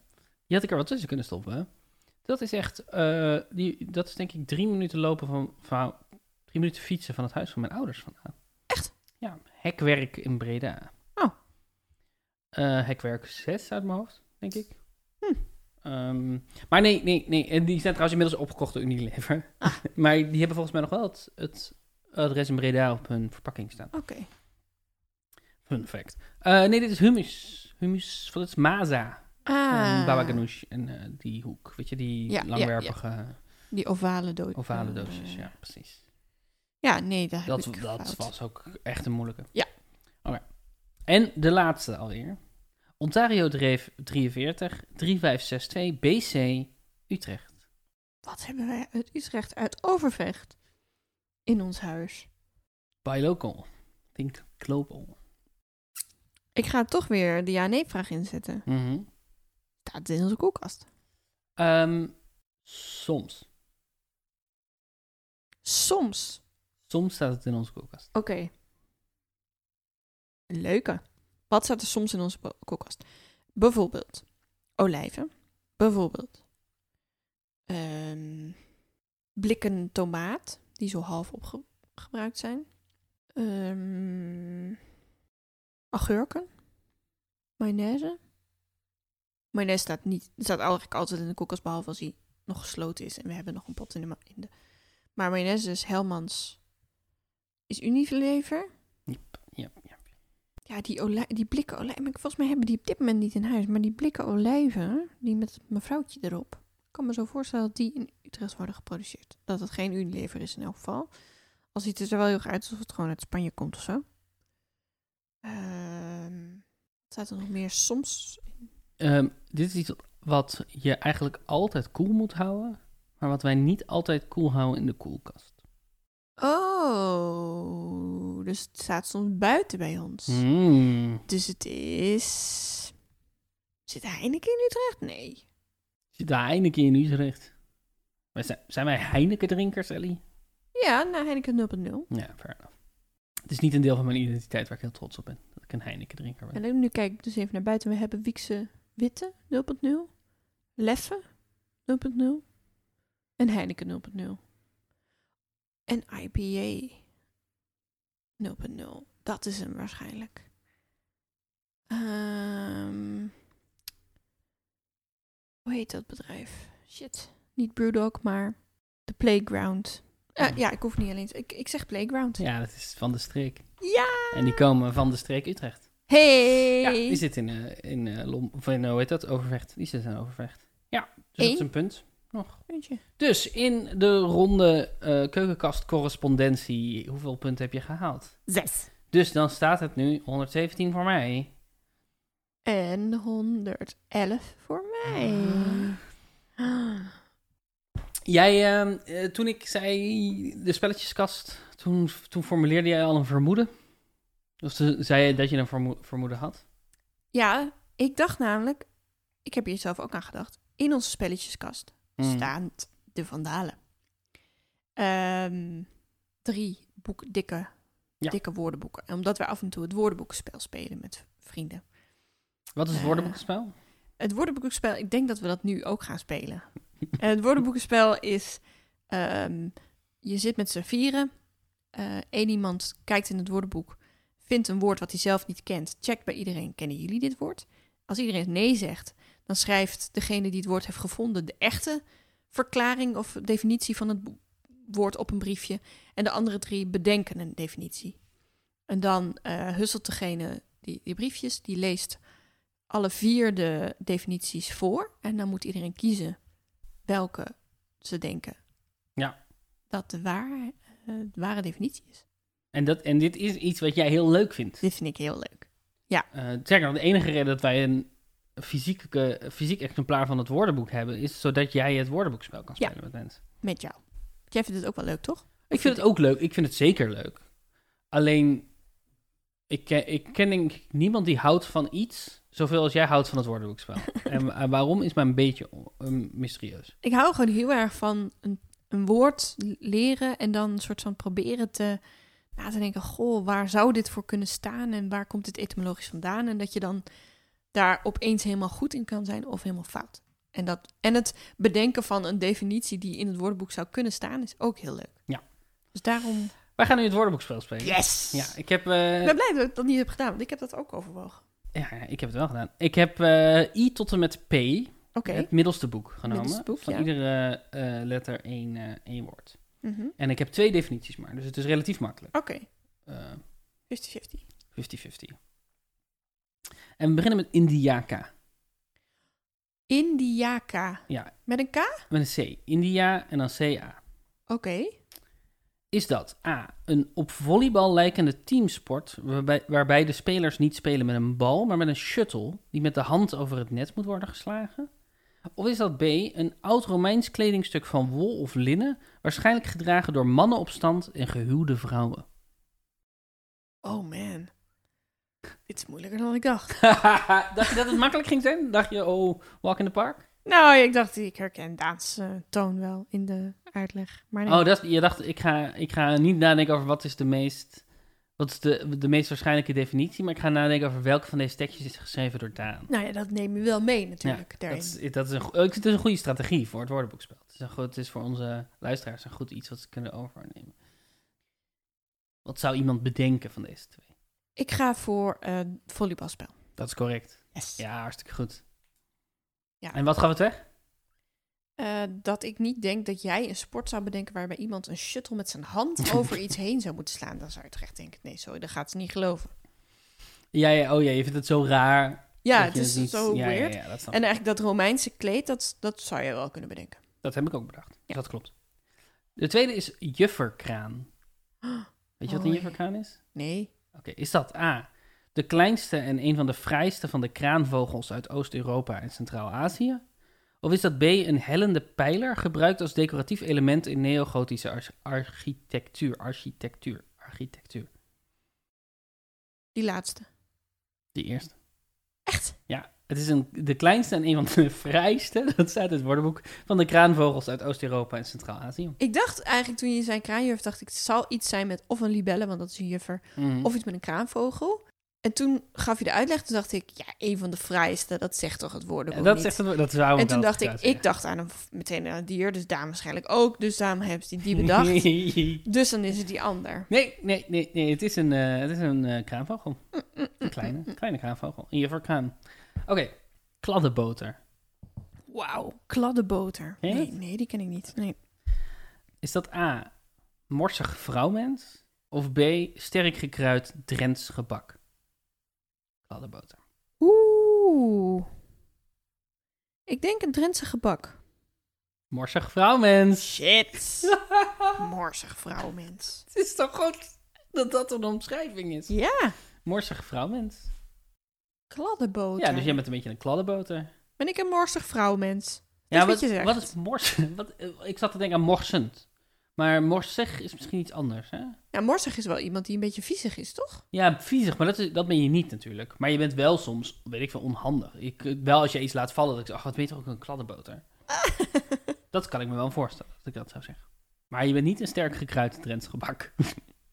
S2: die had ik er wat tussen kunnen stoppen. Dat is echt, eh, die, dat is denk ik drie minuten lopen van, van, drie minuten fietsen van het huis van mijn ouders vandaan.
S1: Echt?
S2: Ja, hekwerk in Breda.
S1: Oh.
S2: Eh, hekwerk 6 uit mijn hoofd, denk ik.
S1: Hm.
S2: Ehm, maar nee, nee, nee, en die zijn trouwens inmiddels opgekocht door Unilever.
S1: Ah.
S2: maar die hebben volgens mij nog wel het, het adres in Breda op hun verpakking staan.
S1: Oké.
S2: Fun fact. Eh, nee, dit is hummus. Hummus, van het is maza.
S1: Ah,
S2: En Baba Ganoush en eh, die hoek. Weet je, die
S1: Ja, ja,
S2: langwerpige
S1: Die ovale, do
S2: ovale
S1: eh,
S2: doosjes. Ja, precies.
S1: Ja, nee, daar heb
S2: Dat,
S1: ik
S2: dat
S1: fout.
S2: was ook echt een moeilijke.
S1: Ja.
S2: Oké. En de laatste alweer. Ontario Dreef 43 3562 BC Utrecht.
S1: Wat hebben wij uit Utrecht, uit Overvecht, in ons huis?
S2: Buy local. Think global.
S1: Ik ga toch weer de ja-nee-vraag inzetten.
S2: Mhm.
S1: Staat het in onze koelkast?
S2: Ehm, soms.
S1: Soms.
S2: Soms staat het in onze koelkast.
S1: Oké. Leuke. Wat staat er soms in onze bo- koelkast? Bijvoorbeeld olijven. Bijvoorbeeld ehm, blikken tomaat, die zo half opgebruikt zijn. Ehm, agurken. Mayonaise. Mayonaise staat, niet, staat eigenlijk altijd in de koelkast, behalve als die nog gesloten is. En we hebben nog een pot in de... ma- In de maar mayonaise is Helmans is Unilever.
S2: Yep, yep, yep.
S1: Ja, die, olij- die blikken olijven. Maar Volgens mij hebben die op dit moment niet in huis. Maar die blikken olijven, die met het mevrouwtje erop. Ik kan me zo voorstellen dat die in Utrecht worden geproduceerd. Dat het geen Unilever is in elk geval. Al ziet het er wel heel erg uit alsof het gewoon uit Spanje komt of zo. Ehm, wat staat er nog meer soms? in?
S2: Ehm, dit is iets wat je eigenlijk altijd koel moet houden, maar wat wij niet altijd koel houden in de koelkast.
S1: Oh, dus het staat soms buiten bij ons.
S2: Mm.
S1: Dus het is... Zit Heineken in Utrecht? Nee.
S2: Zit daar Heineken in Utrecht? Wij zijn, zijn wij Heineken-drinkers, Ellie?
S1: Ja, nou Heineken 0.0.
S2: Ja, fair enough. Het is niet een deel van mijn identiteit waar ik heel trots op ben, dat ik een Heineken-drinker ben.
S1: En nu kijk ik dus even naar buiten. We hebben Wiekse Witte 0.0. Leffe 0.0. En Heineken 0.0. En IPA 0.0. Dat is hem waarschijnlijk. Ehm, hoe heet dat bedrijf? Shit. Niet Brewdog, maar The Playground. Eh, ja, ik hoef niet alleen. te- Ik, ik zeg Playground.
S2: Ja, dat is van de streek.
S1: Ja!
S2: En die komen van de streek Utrecht.
S1: Hey!
S2: Ja, die zit in, eh, in eh, Lom... Of in, eh, hoe heet dat? Overvecht. Die zit in Overvecht. Ja, dus dat is
S1: Eén.
S2: een punt. Nog.
S1: Puntje.
S2: Dus in de ronde eh keukenkast correspondentie, hoeveel punten heb je gehaald?
S1: Zes.
S2: Dus dan staat het nu 117 voor mij.
S1: En 111 voor mij. Ah.
S2: Jij, ehm, eh, toen ik zei de spelletjeskast, toen, toen formuleerde jij al een vermoeden. Of ze- zei je dat je een vermo- vermoeden had?
S1: Ja, ik dacht namelijk, ik heb hier zelf ook aan gedacht. In onze spelletjeskast
S2: Hmm.
S1: staan de Vandalen. Ehm, drie boek, dikke,
S2: Ja.
S1: dikke woordenboeken. En omdat wij af en toe het woordenboekenspel spelen met vrienden.
S2: Wat is het
S1: Eh.
S2: woordenboekspel?
S1: Het woordenboekenspel, ik denk dat we dat nu ook gaan spelen. En het woordenboekenspel is, ehm, je zit met z'n vieren. Eén iemand kijkt in het woordenboek, vindt een woord wat hij zelf niet kent. Checkt bij iedereen, kennen jullie dit woord? Als iedereen nee zegt, dan schrijft degene die het woord heeft gevonden... de echte verklaring of definitie van het bo- woord op een briefje. En de andere drie bedenken een definitie. En dan eh husselt degene die, die briefjes, die leest alle vier de definities voor. En dan moet iedereen kiezen welke ze denken
S2: Ja.
S1: dat de, waar, eh, de ware definitie is.
S2: En, dat, en dit is iets wat jij heel leuk vindt.
S1: Dit vind ik heel leuk.
S2: Eh zeker, want de enige reden dat wij een fysieke, fysiek exemplaar van het woordenboek hebben, is zodat jij het woordenboekspel kan
S1: Ja.
S2: spelen met mensen.
S1: Met jou. Jij vindt het ook wel leuk, toch?
S2: Ik vind het ook leuk. Ik vind het zeker leuk. Alleen, ik ken, ik ken denk ik niemand die houdt van iets zoveel als jij houdt van het woordenboekspel. en wa- waarom is maar een beetje o- um, mysterieus.
S1: Ik hou gewoon heel erg van een, een woord l- leren en dan een soort van proberen te na te denken, goh, waar zou dit voor kunnen staan en waar komt dit etymologisch vandaan? En dat je dan daar opeens helemaal goed in kan zijn of helemaal fout. En, dat, en het bedenken van een definitie die in het woordenboek zou kunnen staan, is ook heel leuk.
S2: Ja.
S1: Dus daarom...
S2: Wij gaan nu het woordenboekspel spelen.
S1: Yes!
S2: Ja, ik heb, eh,
S1: Ik ben blij dat ik dat niet heb gedaan, want ik heb dat ook overwogen.
S2: ja, ik heb het wel gedaan. Ik heb eh, I tot en met P,
S1: Oké.
S2: het middelste boek, genomen.
S1: Middelste boek,
S2: van
S1: ja.
S2: iedere eh, letter één, eh, één woord.
S1: Mhm.
S2: En ik heb twee definities maar, dus het is relatief makkelijk.
S1: Oké,
S2: Eh,
S1: 50-50.
S2: 50-50. En we beginnen met Indiaka.
S1: Indiaka.
S2: Ja.
S1: Met een K? Oké.
S2: Met een C. India en dan CA. Is dat A. Een op volleybal lijkende teamsport waarbij, waarbij de spelers niet spelen met een bal, maar met een shuttle die met de hand over het net moet worden geslagen? Of is dat B. Een oud Romeins kledingstuk van wol of linnen, waarschijnlijk gedragen door mannen op stand en gehuwde vrouwen?
S1: Oh man. Dit is moeilijker dan ik dacht.
S2: dacht je dat het makkelijk ging zijn? Dacht je, oh, walk in the park?
S1: Nou, ik dacht, ik herken Daans eh, toon wel in de uitleg. Maar nee.
S2: Oh, dat, is- je dacht, ik ga, ik ga niet nadenken over wat is de meest... Wat is de, de meest waarschijnlijke definitie? Maar ik ga nadenken over welke van deze tekstjes is geschreven door Daan.
S1: Nou ja, dat neem je wel mee natuurlijk.
S2: Dat
S1: daarin.
S2: is, dat is een, go- ik vind het is een goede strategie voor het woordenboekspel. Het is, een goed, het is voor onze luisteraars een goed iets wat ze kunnen overnemen. Wat zou iemand bedenken van deze twee?
S1: Ik ga voor eh volleybalspel.
S2: Dat is correct.
S1: Yes.
S2: Ja, hartstikke goed.
S1: Ja.
S2: En wat gaf het weg?
S1: Eh, dat ik niet denk dat jij een sport zou bedenken waarbij iemand een shuttle met zijn hand over iets heen zou moeten slaan. Dan zou je terecht denken, nee, sorry, dat gaat ze niet geloven.
S2: Ja, ja, oh ja, je vindt het zo raar.
S1: Ja,
S2: dat
S1: het
S2: je dus
S1: is
S2: niet-
S1: zo
S2: ja, ja,
S1: weird.
S2: ja, dat, snap
S1: En
S2: ik.
S1: eigenlijk dat Romeinse kleed, dat, dat zou je wel kunnen bedenken.
S2: dat heb ik ook bedacht.
S1: Ja.
S2: Dat klopt. De tweede is jufferkraan. Weet je wat een
S1: Oh,
S2: jufferkraan is?
S1: Nee.
S2: Oké, is dat A. De kleinste en een van de vrijste van de kraanvogels uit Oost-Europa en Centraal-Azië? Of is dat B. Een hellende pijler gebruikt als decoratief element in neogotische ar- architectuur? Architectuur, architectuur.
S1: Die laatste.
S2: Die eerste.
S1: Echt?
S2: Ja, het is een, de kleinste en een van de vrijste, dat staat in het woordenboek, van de kraanvogels uit Oost-Europa en Centraal-Azië.
S1: Ik dacht eigenlijk toen je zei kraanjuf, dacht ik, het zal iets zijn met of een libelle, want dat is een juffer.
S2: Mhm.
S1: of iets met een kraanvogel. En toen gaf je de uitleg, toen dacht ik, ja, een van de fraaiste, dat zegt toch het
S2: Ja,
S1: woordenboek
S2: dat
S1: niet?
S2: zegt het, dat zou
S1: en toen dacht ik, ik dacht aan een, meteen aan een dier, dus Daan waarschijnlijk ook, dus daarom hebben ze die, die bedacht. dus dan is het die ander.
S2: Nee, nee, nee, nee. Het is een, eh, het is een eh, kraanvogel. Een kleine, kleine kraanvogel. Een jufferkraan. Oké, kladdeboter.
S1: Wauw, kladdenboter.
S2: Ken je
S1: Nee,
S2: dat?
S1: nee, die ken ik niet. Nee.
S2: Is dat A, morsig vrouwmens? Of B, sterk gekruid Drents gebak? Kladderboter.
S1: Oeh. Ik denk een Drentse gebak.
S2: Morsig vrouwmens.
S1: Shit.
S2: Ah.
S1: Morsig vrouwmens.
S2: Het is toch goed dat dat een omschrijving is?
S1: Ja,
S2: Morsig vrouwmens.
S1: kladdenboter.
S2: Ja, dus jij bent een beetje een kladdenboter.
S1: Ben ik een morsig vrouwmens? is
S2: Ja, wat,
S1: wat je zegt.
S2: wat is morsen? Wat, eh, ik zat te denken aan morsend. Maar morsig is misschien iets anders, hè?
S1: Ja, morsig is wel iemand die een beetje viezig is, toch?
S2: Ja, viezig, maar dat, is, dat ben je niet natuurlijk. Maar je bent wel soms, weet ik veel, onhandig. Ik, eh, wel als je iets laat vallen, dat ik zeg, ach, wat ben je toch ook een kladdenboter? Dat kan ik me wel voorstellen, dat ik dat zou zeggen. Maar je bent niet een sterk gekruid Drents gebak.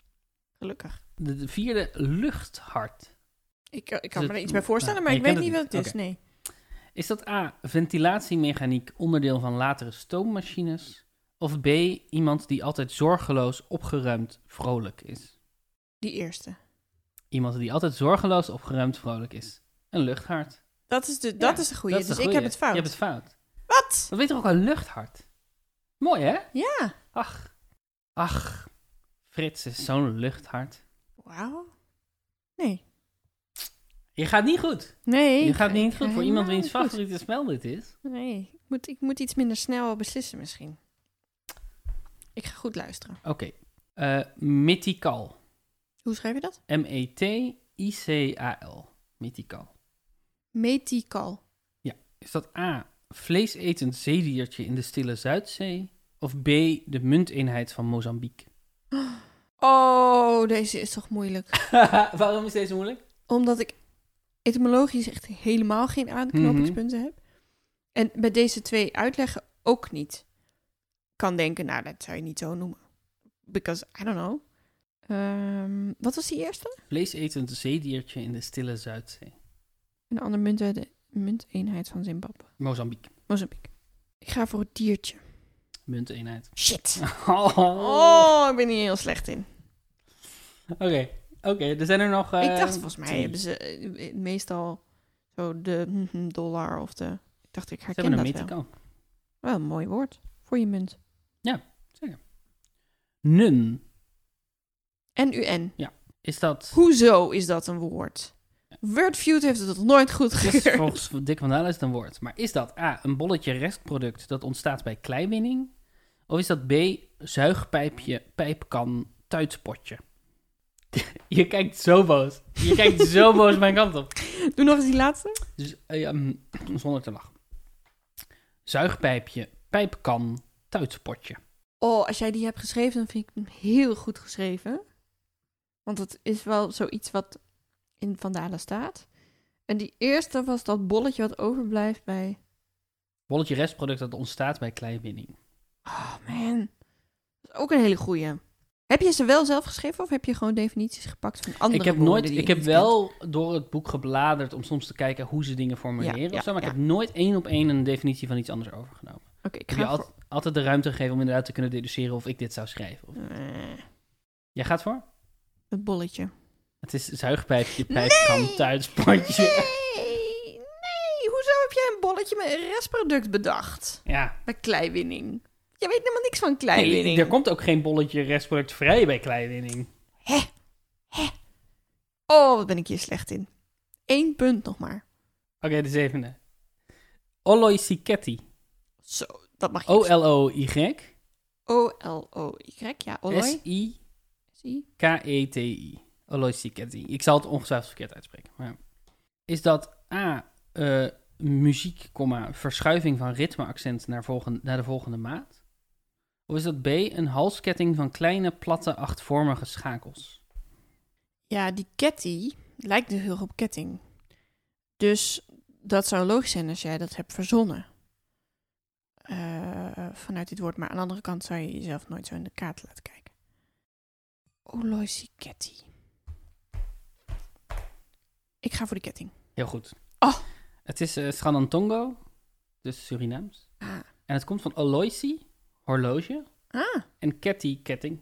S1: Gelukkig.
S2: De, de vierde, luchthart.
S1: Ik, eh, ik kan
S2: het-
S1: me er iets bij voorstellen,
S2: nou,
S1: maar
S2: je
S1: ik weet niet
S2: kent
S1: wat
S2: het niet.
S1: het is. Nee.
S2: Is dat A, ventilatiemechaniek, onderdeel van latere stoommachines? Of B, iemand die altijd zorgeloos, opgeruimd, vrolijk is?
S1: Die eerste.
S2: Iemand die altijd zorgeloos, opgeruimd, vrolijk is. Een luchthart.
S1: Dat is de, dat is de goede.
S2: Dat is
S1: Dus
S2: de
S1: ik
S2: goeie.
S1: heb het fout.
S2: Je hebt het fout.
S1: Wat?
S2: Dat weet toch ook een luchthart? Mooi, hè?
S1: Ja.
S2: Ach. Ach. Frits is zo'n luchthart.
S1: Wauw. Nee.
S2: Je gaat niet goed.
S1: Nee.
S2: je
S1: ik-
S2: gaat niet
S1: ik
S2: goed
S1: ga
S2: voor iemand
S1: helemaal
S2: wiens
S1: niet goed.
S2: favoriete spel dit is.
S1: Nee. Ik moet, ik moet iets minder snel beslissen misschien. Ik ga goed luisteren.
S2: Oké. Eh, mythical. E
S1: Hoe schrijf je dat?
S2: M-E-T-I-C-A-L. Mythical.
S1: Metical.
S2: Is dat A. Vleesetend zeediertje in de stille Zuidzee? Of B. De munteenheid van Mozambique?
S1: Oh, deze is toch moeilijk.
S2: Waarom is deze moeilijk?
S1: Omdat ik etymologisch echt helemaal geen aanknopingspunten
S2: Mhm.
S1: heb. En bij deze twee uitleggen ook niet. Kan denken, nou, dat zou je niet zo noemen. Because, I don't know. Ehm, wat was die eerste?
S2: Vleesetend zeediertje in de stille Zuidzee.
S1: Een andere munt uit de munteenheid van Zimbabwe.
S2: Mozambique.
S1: Mozambique. Ik ga voor het diertje.
S2: Munteenheid.
S1: Shit.
S2: Oh.
S1: Oh, ik ben hier heel slecht in.
S2: Oké. Oké, er zijn er nog... eh,
S1: ik dacht, volgens mij
S2: drie.
S1: hebben ze eh, meestal zo de hm, dollar of de... Ik dacht, ik
S2: Ze
S1: herken
S2: hebben
S1: dat
S2: een
S1: wel.
S2: mythical.
S1: Wel een mooi woord voor je munt.
S2: Nun.
S1: N-U-N.
S2: Is dat...
S1: Hoezo is dat een woord? Wordfeud heeft het nog nooit goed
S2: Het is
S1: gekeurd.
S2: volgens Dick van Dalen is het een woord. Maar is dat A, een bolletje restproduct dat ontstaat bij kleiwinning? Of is dat B, zuigpijpje, pijpkan, tuitspotje? Je kijkt zo boos. Je kijkt zo boos mijn kant op.
S1: Doe nog eens die laatste.
S2: Dus, eh, ja, mm, zonder te lachen. Zuigpijpje, pijpkan, tuitspotje.
S1: Oh, als jij die hebt geschreven, dan vind ik hem heel goed geschreven. Want het is wel zoiets wat in Vandalen staat. En die eerste was dat bolletje wat overblijft bij...
S2: Bolletje restproduct dat ontstaat bij kleiwinning.
S1: Oh man, dat is ook een hele goeie. Heb je ze wel zelf geschreven of heb je gewoon definities gepakt van andere
S2: Ik heb
S1: woorden
S2: nooit,
S1: die je
S2: ik heb
S1: niet
S2: wel door het boek gebladerd om soms te kijken hoe ze dingen formuleren
S1: Ja, ja,
S2: of zo, maar
S1: ja.
S2: ik heb nooit één op één een definitie van iets anders overgenomen.
S1: kent? Oké, ik
S2: Ik heb je
S1: ga
S2: al- altijd de ruimte gegeven om inderdaad te kunnen deduceren of ik dit zou schrijven. Of...
S1: voor... Eh,
S2: Jij gaat voor?
S1: het bolletje.
S2: Het is zuigpijpje, pijpkan,
S1: Nee!
S2: tuitspotje.
S1: Nee, nee. Hoezo heb jij een bolletje met een restproduct bedacht?
S2: Ja,
S1: Bij kleiwinning. Jij weet helemaal niks van
S2: Nee,
S1: kleiwinning.
S2: er komt ook geen bolletje restproduct vrij bij kleiwinning.
S1: Oh, wat ben ik hier slecht in. Eén punt nog maar.
S2: Oké, de zevende. Oloisicetti.
S1: Zo, dat mag je.
S2: O-L-O-Y.
S1: O-L-O-Y. Ja, Oloy.
S2: S-I-K-E-T-I.
S1: Zie.
S2: E Oloisicetti. Ik zal het ongetwijfeld verkeerd uitspreken. Maar... Is dat A, eh, muziek, comma, verschuiving van ritmeaccent naar, volgen, naar de volgende maat? Of is dat B, een halsketting van kleine, platte, achtvormige schakels?
S1: Ja, die ketty lijkt dus heel erg op ketting. Dus dat zou logisch zijn als jij dat hebt verzonnen. Eh, vanuit dit woord. Maar aan de andere kant zou je jezelf nooit zo in de kaart laten kijken. Oloisiketty. Ik ga voor de ketting.
S2: Heel goed.
S1: Oh.
S2: Het is eh Sranantongo, dus Surinaams.
S1: Ah.
S2: En het komt van Oloisi, horloge,
S1: ah.
S2: en Ketty, ketting,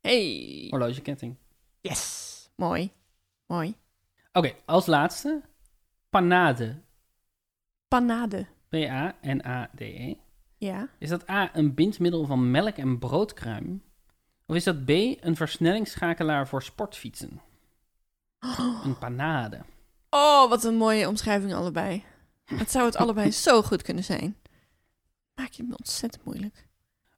S1: Hey.
S2: horlogeketting.
S1: Yes. Mooi. Mooi.
S2: Oké, als laatste, panade,
S1: Panade.
S2: P-A-N-A-D-E.
S1: Ja.
S2: Is dat A, een bindmiddel van melk en broodkruim? Of is dat B, een versnellingsschakelaar voor sportfietsen? Een panade.
S1: Oh, wat een mooie omschrijving allebei. Het zou het allebei zo goed kunnen zijn. Maak je me ontzettend moeilijk.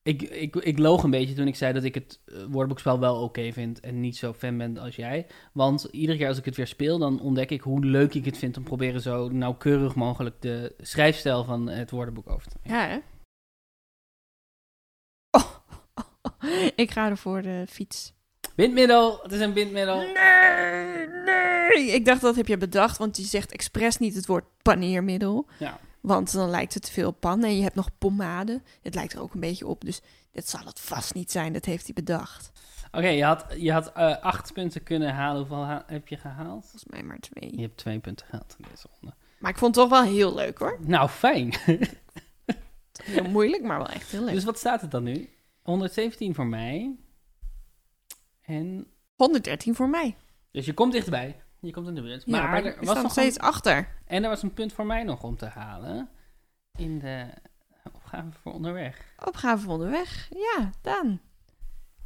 S2: Ik, ik, ik loog een beetje toen ik zei dat ik het eh, woordenboekspel wel oké vind en niet zo fan ben als jij. Want iedere keer als ik het weer speel, dan ontdek ik hoe leuk ik het vind om proberen zo nauwkeurig mogelijk de schrijfstijl van het woordenboek over te nemen.
S1: Ja, hè? Oh, ik ga er voor de fiets.
S2: Bindmiddel, het is een bindmiddel.
S1: Nee, nee. Ik dacht dat heb je bedacht, want je zegt expres niet het woord paneermiddel.
S2: Ja.
S1: Want dan lijkt het te veel pan en je hebt nog pomade. Het lijkt er ook een beetje op, dus dit zal het vast niet zijn. Dat heeft hij bedacht.
S2: Oké, je had, je had eh, acht punten kunnen halen. Hoeveel ha- heb je gehaald?
S1: Volgens mij maar twee.
S2: Je hebt twee punten gehaald in deze ronde.
S1: Maar ik vond het toch wel heel leuk hoor.
S2: Nou, fijn.
S1: Heel moeilijk, maar wel echt heel leuk.
S2: Dus wat staat het dan nu? 117 voor mij. En...
S1: 113 voor mij.
S2: Dus je komt dichterbij. Je komt in de buurt.
S1: Maar, ja, maar ik
S2: er
S1: sta nog
S2: een-
S1: steeds achter.
S2: En er was een punt voor mij nog om te halen. In de opgave voor onderweg.
S1: Opgave van de weg. Ja, Daan.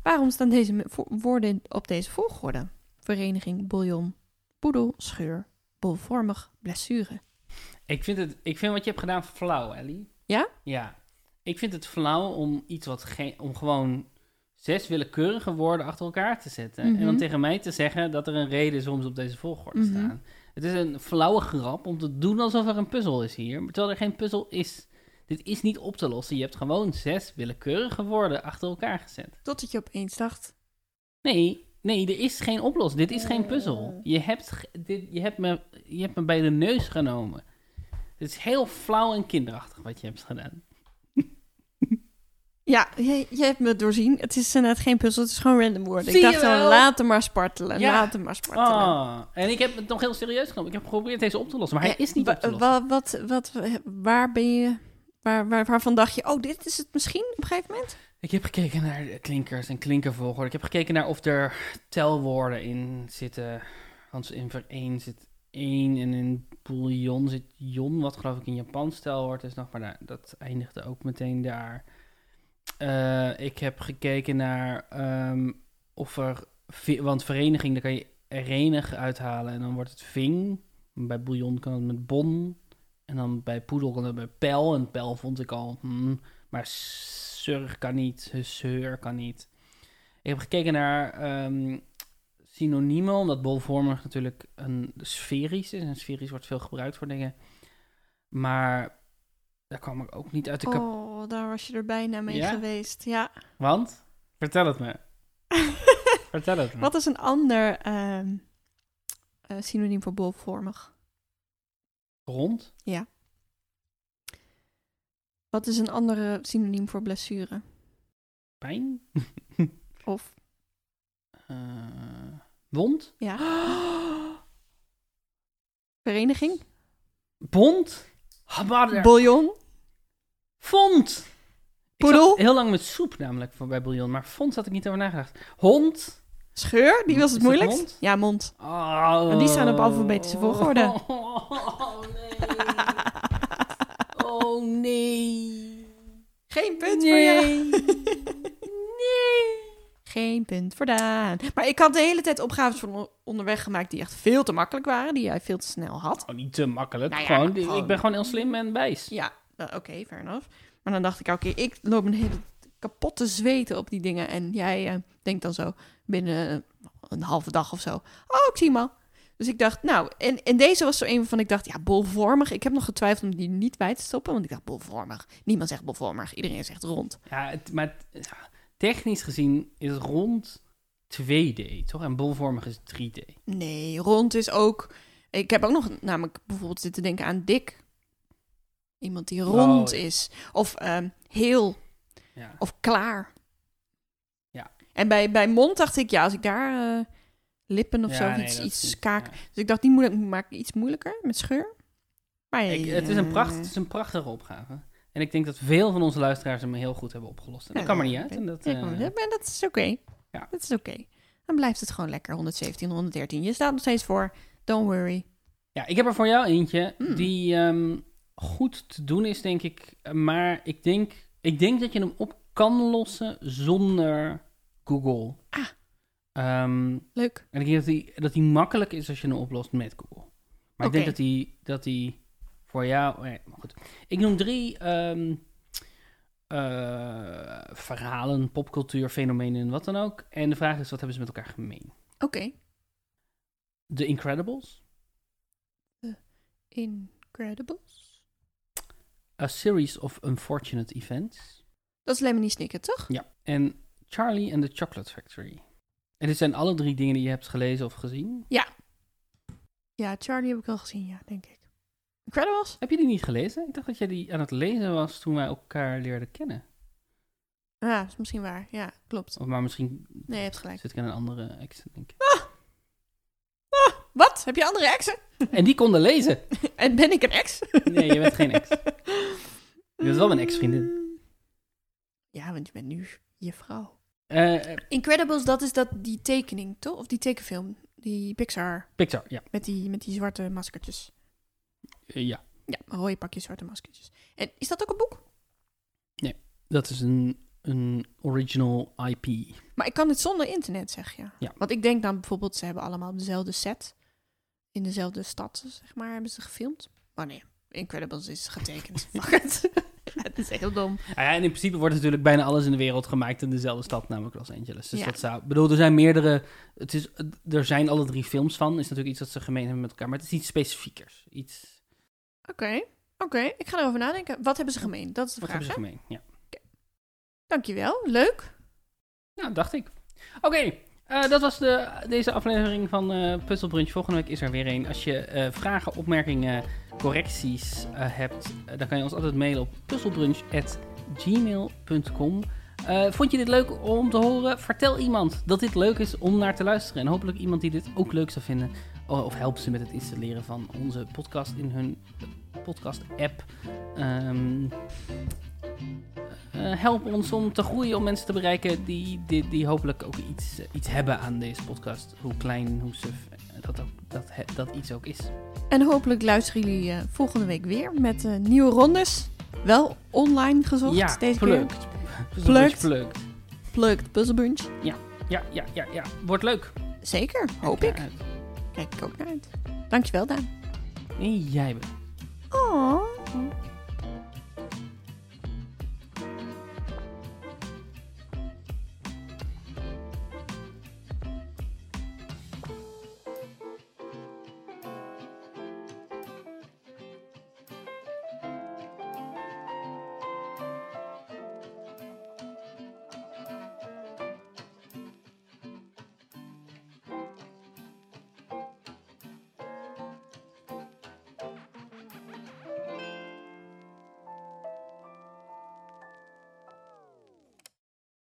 S1: Waarom staan deze me- vo- woorden op deze volgorde? Vereniging, bouillon, poedel, scheur, bolvormig, blessure.
S2: Ik vind, het, ik vind wat je hebt gedaan flauw, Ellie.
S1: Ja?
S2: Ja. Ik vind het flauw om iets wat geen... Om gewoon zes willekeurige woorden achter elkaar te zetten.
S1: Mhm.
S2: En dan tegen mij te zeggen dat er een reden is waarom ze op deze volgorde
S1: Mhm.
S2: staan. Het is een flauwe grap om te doen alsof er een puzzel is hier. maar Terwijl er geen puzzel is. Dit is niet op te lossen. Je hebt gewoon zes willekeurige woorden achter elkaar gezet.
S1: Totdat je opeens dacht,
S2: Nee, nee, er is geen oplossing. Dit is geen
S1: Oh.
S2: puzzel. Je hebt, ge- dit, je, hebt me, je hebt me bij de neus genomen. Het is heel flauw en kinderachtig wat je hebt gedaan.
S1: ja, je, je hebt me doorzien. Het is inderdaad geen puzzel, het is gewoon random woorden.
S2: Zie
S1: ik
S2: je
S1: dacht gewoon,
S2: wel?
S1: laat hem maar spartelen,
S2: Ja.
S1: laat hem maar spartelen.
S2: Ah, en ik heb het nog heel serieus genomen. Ik heb geprobeerd deze op te lossen, maar hij
S1: Ja,
S2: is niet
S1: wa-
S2: op te lossen.
S1: wa- wat, wat, Waar ben je... Waar, waar, waarvan dacht je, oh, dit is het misschien op een gegeven moment?
S2: Ik heb gekeken naar de klinkers en klinkervolgorde. Ik heb gekeken naar of er telwoorden in zitten. Want in vereen zit één en in bouillon zit jon, wat geloof ik in Japans telwoord is nog. Maar daar- dat eindigde ook meteen daar. Eh, ik heb gekeken naar ehm, of er... vi- Want vereniging, daar kan je erenig uithalen en dan wordt het ving. Bij bouillon kan het met bon. En dan bij poedel kan het bij pel. En pel vond ik al... hmm, maar surg kan niet, zeur kan niet. Ik heb gekeken naar ehm, synoniemen, omdat bolvormig natuurlijk een sferisch is. En sferisch wordt veel gebruikt voor dingen. Maar daar kwam ik ook niet uit de kap.
S1: Oh, daar was je er bijna mee
S2: Ja?
S1: geweest. Ja.
S2: Want? Vertel het me. Vertel het me.
S1: Wat is een ander ehm, eh, synoniem voor bolvormig?
S2: Rond?
S1: Wat is een andere synoniem voor blessure?
S2: Pijn?
S1: Of,
S2: Eh, wond?
S1: ja. Vereniging?
S2: Bond? Habadder?
S1: Bouillon?
S2: Vond. Ik
S1: Poedel?
S2: zat heel lang met soep namelijk voor bij bouillon, maar vond had ik niet over nagedacht. Hond.
S1: Scheur? Die was
S2: Is
S1: het
S2: dat
S1: moeilijkst?
S2: mond?
S1: Ja, mond.
S2: Oh.
S1: Maar die staan op alfabetische volgorde.
S2: Oh nee. Oh nee.
S1: Geen punt voor jou.
S2: Nee. Nee.
S1: Geen punt voor Daan. Maar ik had de hele tijd opgaves van on- onderweg gemaakt die echt veel te makkelijk waren, die jij veel te snel had.
S2: Oh, niet te makkelijk.
S1: Nou ja,
S2: gewoon,
S1: gewoon.
S2: Ik ben gewoon heel slim en wijs.
S1: Ja, eh, oké, fair enough. Maar dan dacht ik, oké, ik loop een hele kapotte zweten op die dingen en jij eh, denkt dan zo binnen eh, een halve dag of zo, oh, ik zie hem al. Dus ik dacht, nou, en, en deze was zo een waarvan ik dacht, ja, bolvormig. Ik heb nog getwijfeld om die niet bij te stoppen, want ik dacht, bolvormig. Niemand zegt bolvormig, iedereen zegt rond.
S2: Ja, het, maar het- ja, technisch gezien is rond 2D, toch? En bolvormig is 3D.
S1: Nee, rond is ook. Ik heb ook nog namelijk bijvoorbeeld zitten denken aan dik. Iemand die rond
S2: Oh, ja.
S1: is. Of ehm, heel.
S2: Ja.
S1: Of klaar.
S2: Ja.
S1: En bij, bij mond dacht ik, ja, als ik daar eh, lippen of
S2: Ja,
S1: zo,
S2: nee,
S1: iets,
S2: dat is
S1: iets
S2: niet-
S1: kaak.
S2: ja.
S1: Dus ik dacht, die moet ik maak ik iets moeilijker met scheur. Maar
S2: Ik-
S1: ja,
S2: het, is een pracht, het is een prachtige opgave. En ik denk dat veel van onze luisteraars hem heel goed hebben opgelost. En dat
S1: Ja,
S2: kan maar
S1: ja,
S2: niet uit.
S1: ik
S2: En dat,
S1: Ja, ik wou
S2: eh,
S1: zeggen, maar dat is oké.
S2: Ja.
S1: Dat is oké. Dan blijft het gewoon lekker. 117, 113. Je staat nog steeds voor. Don't worry.
S2: ja, ik heb er voor jou eentje
S1: Hmm.
S2: die ehm, goed te doen is, denk ik. Maar ik denk, ik denk dat je hem op kan lossen zonder Google.
S1: Ah.
S2: Ehm,
S1: Leuk.
S2: en ik denk dat die, dat die makkelijk is als je hem oplost met Google. Maar ik denk dat die, dat die voor jou... oh ja, maar goed. Ik noem drie ehm, eh, verhalen, popcultuur, fenomenen en wat dan ook. En de vraag is, wat hebben ze met elkaar gemeen?
S1: Oké.
S2: The Incredibles,
S1: Incredibles.
S2: A Series of Unfortunate Events.
S1: Dat is Lemony Snicket, toch?
S2: Ja. En Charlie and the Chocolate Factory. En dit zijn alle drie dingen die je hebt gelezen of gezien.
S1: Ja, Charlie heb ik al gezien, ja, denk ik. Incredibles?
S2: Heb je die niet gelezen? Ik dacht dat jij die aan het lezen was toen wij elkaar leerden kennen.
S1: Ja, is misschien waar. Ja, klopt.
S2: Of maar misschien
S1: Nee, je hebt gelijk.
S2: zit ik aan een andere accent, denk ik.
S1: Ah, Wat? Heb je andere exen?
S2: En die konden lezen.
S1: En Eh, ben ik een ex?
S2: Nee, je bent geen ex. Je bent wel mijn ex-vriendin.
S1: Eh, Ja, want je bent nu je vrouw.
S2: Eh, eh,
S1: Incredibles, dat is dat, die tekening, toch? Of die tekenfilm. Die Pixar.
S2: Pixar, ja.
S1: Met die, met die zwarte maskertjes.
S2: Eh, ja.
S1: Ja, rode pakjes, zwarte maskertjes. En is dat ook een boek?
S2: Dat is een, een original IP.
S1: Maar ik kan het zonder internet, zeg je.
S2: Ja.
S1: Want ik denk dan bijvoorbeeld, ze hebben allemaal dezelfde set. In dezelfde stad, zeg maar, hebben ze gefilmd. Maar nee, Incredibles is getekend. Fuck it. Het is heel dom.
S2: Ah ja, en in principe wordt natuurlijk bijna alles in de wereld gemaakt in dezelfde stad, namelijk Los Angeles. Dus
S1: Ja.
S2: dat zou... Ik bedoel, er zijn meerdere... Het is, er zijn alle drie films van. is natuurlijk iets dat ze gemeen hebben met elkaar. Maar het is iets specifiekers. Iets...
S1: Oké, oké. Ik ga erover nadenken. Wat hebben ze gemeen? Dat is de
S2: Wat
S1: vraag,
S2: hebben
S1: hè?
S2: ze gemeen? Ja.
S1: Dankjewel. Leuk.
S2: Ja, dacht ik. Oké, eh, dat was de, deze aflevering van eh Puzzelbrunch. Volgende week is er weer een. Als je eh, vragen, opmerkingen, correcties eh, hebt, eh, dan kan je ons altijd mailen op puzzelbrunch.gmail.com. Eh, vond je dit leuk om te horen? Vertel iemand dat dit leuk is om naar te luisteren. En hopelijk iemand die dit ook leuk zou vinden. O- Of help ze met het installeren van onze podcast in hun podcast-app. Ehm, eh, help ons om te groeien, om mensen te bereiken die, die, die hopelijk ook iets, eh, iets hebben aan deze podcast. Hoe klein, hoe suf eh, dat, ook, dat, he- dat iets ook is.
S1: En hopelijk luisteren jullie eh, volgende week weer met eh, nieuwe rondes. Wel online gezocht
S2: ja,
S1: deze keer.
S2: plukt.
S1: Plukt.
S2: Plukt.
S1: Plugged Puzzle Bunch.
S2: Ja, ja, ja, ja. Wordt leuk.
S1: Zeker, hoop
S2: Kijk
S1: ik.
S2: daaruit.
S1: Kijk ik ook naar uit. Dankjewel, Daan.
S2: Nee, jij bent.
S1: Oh.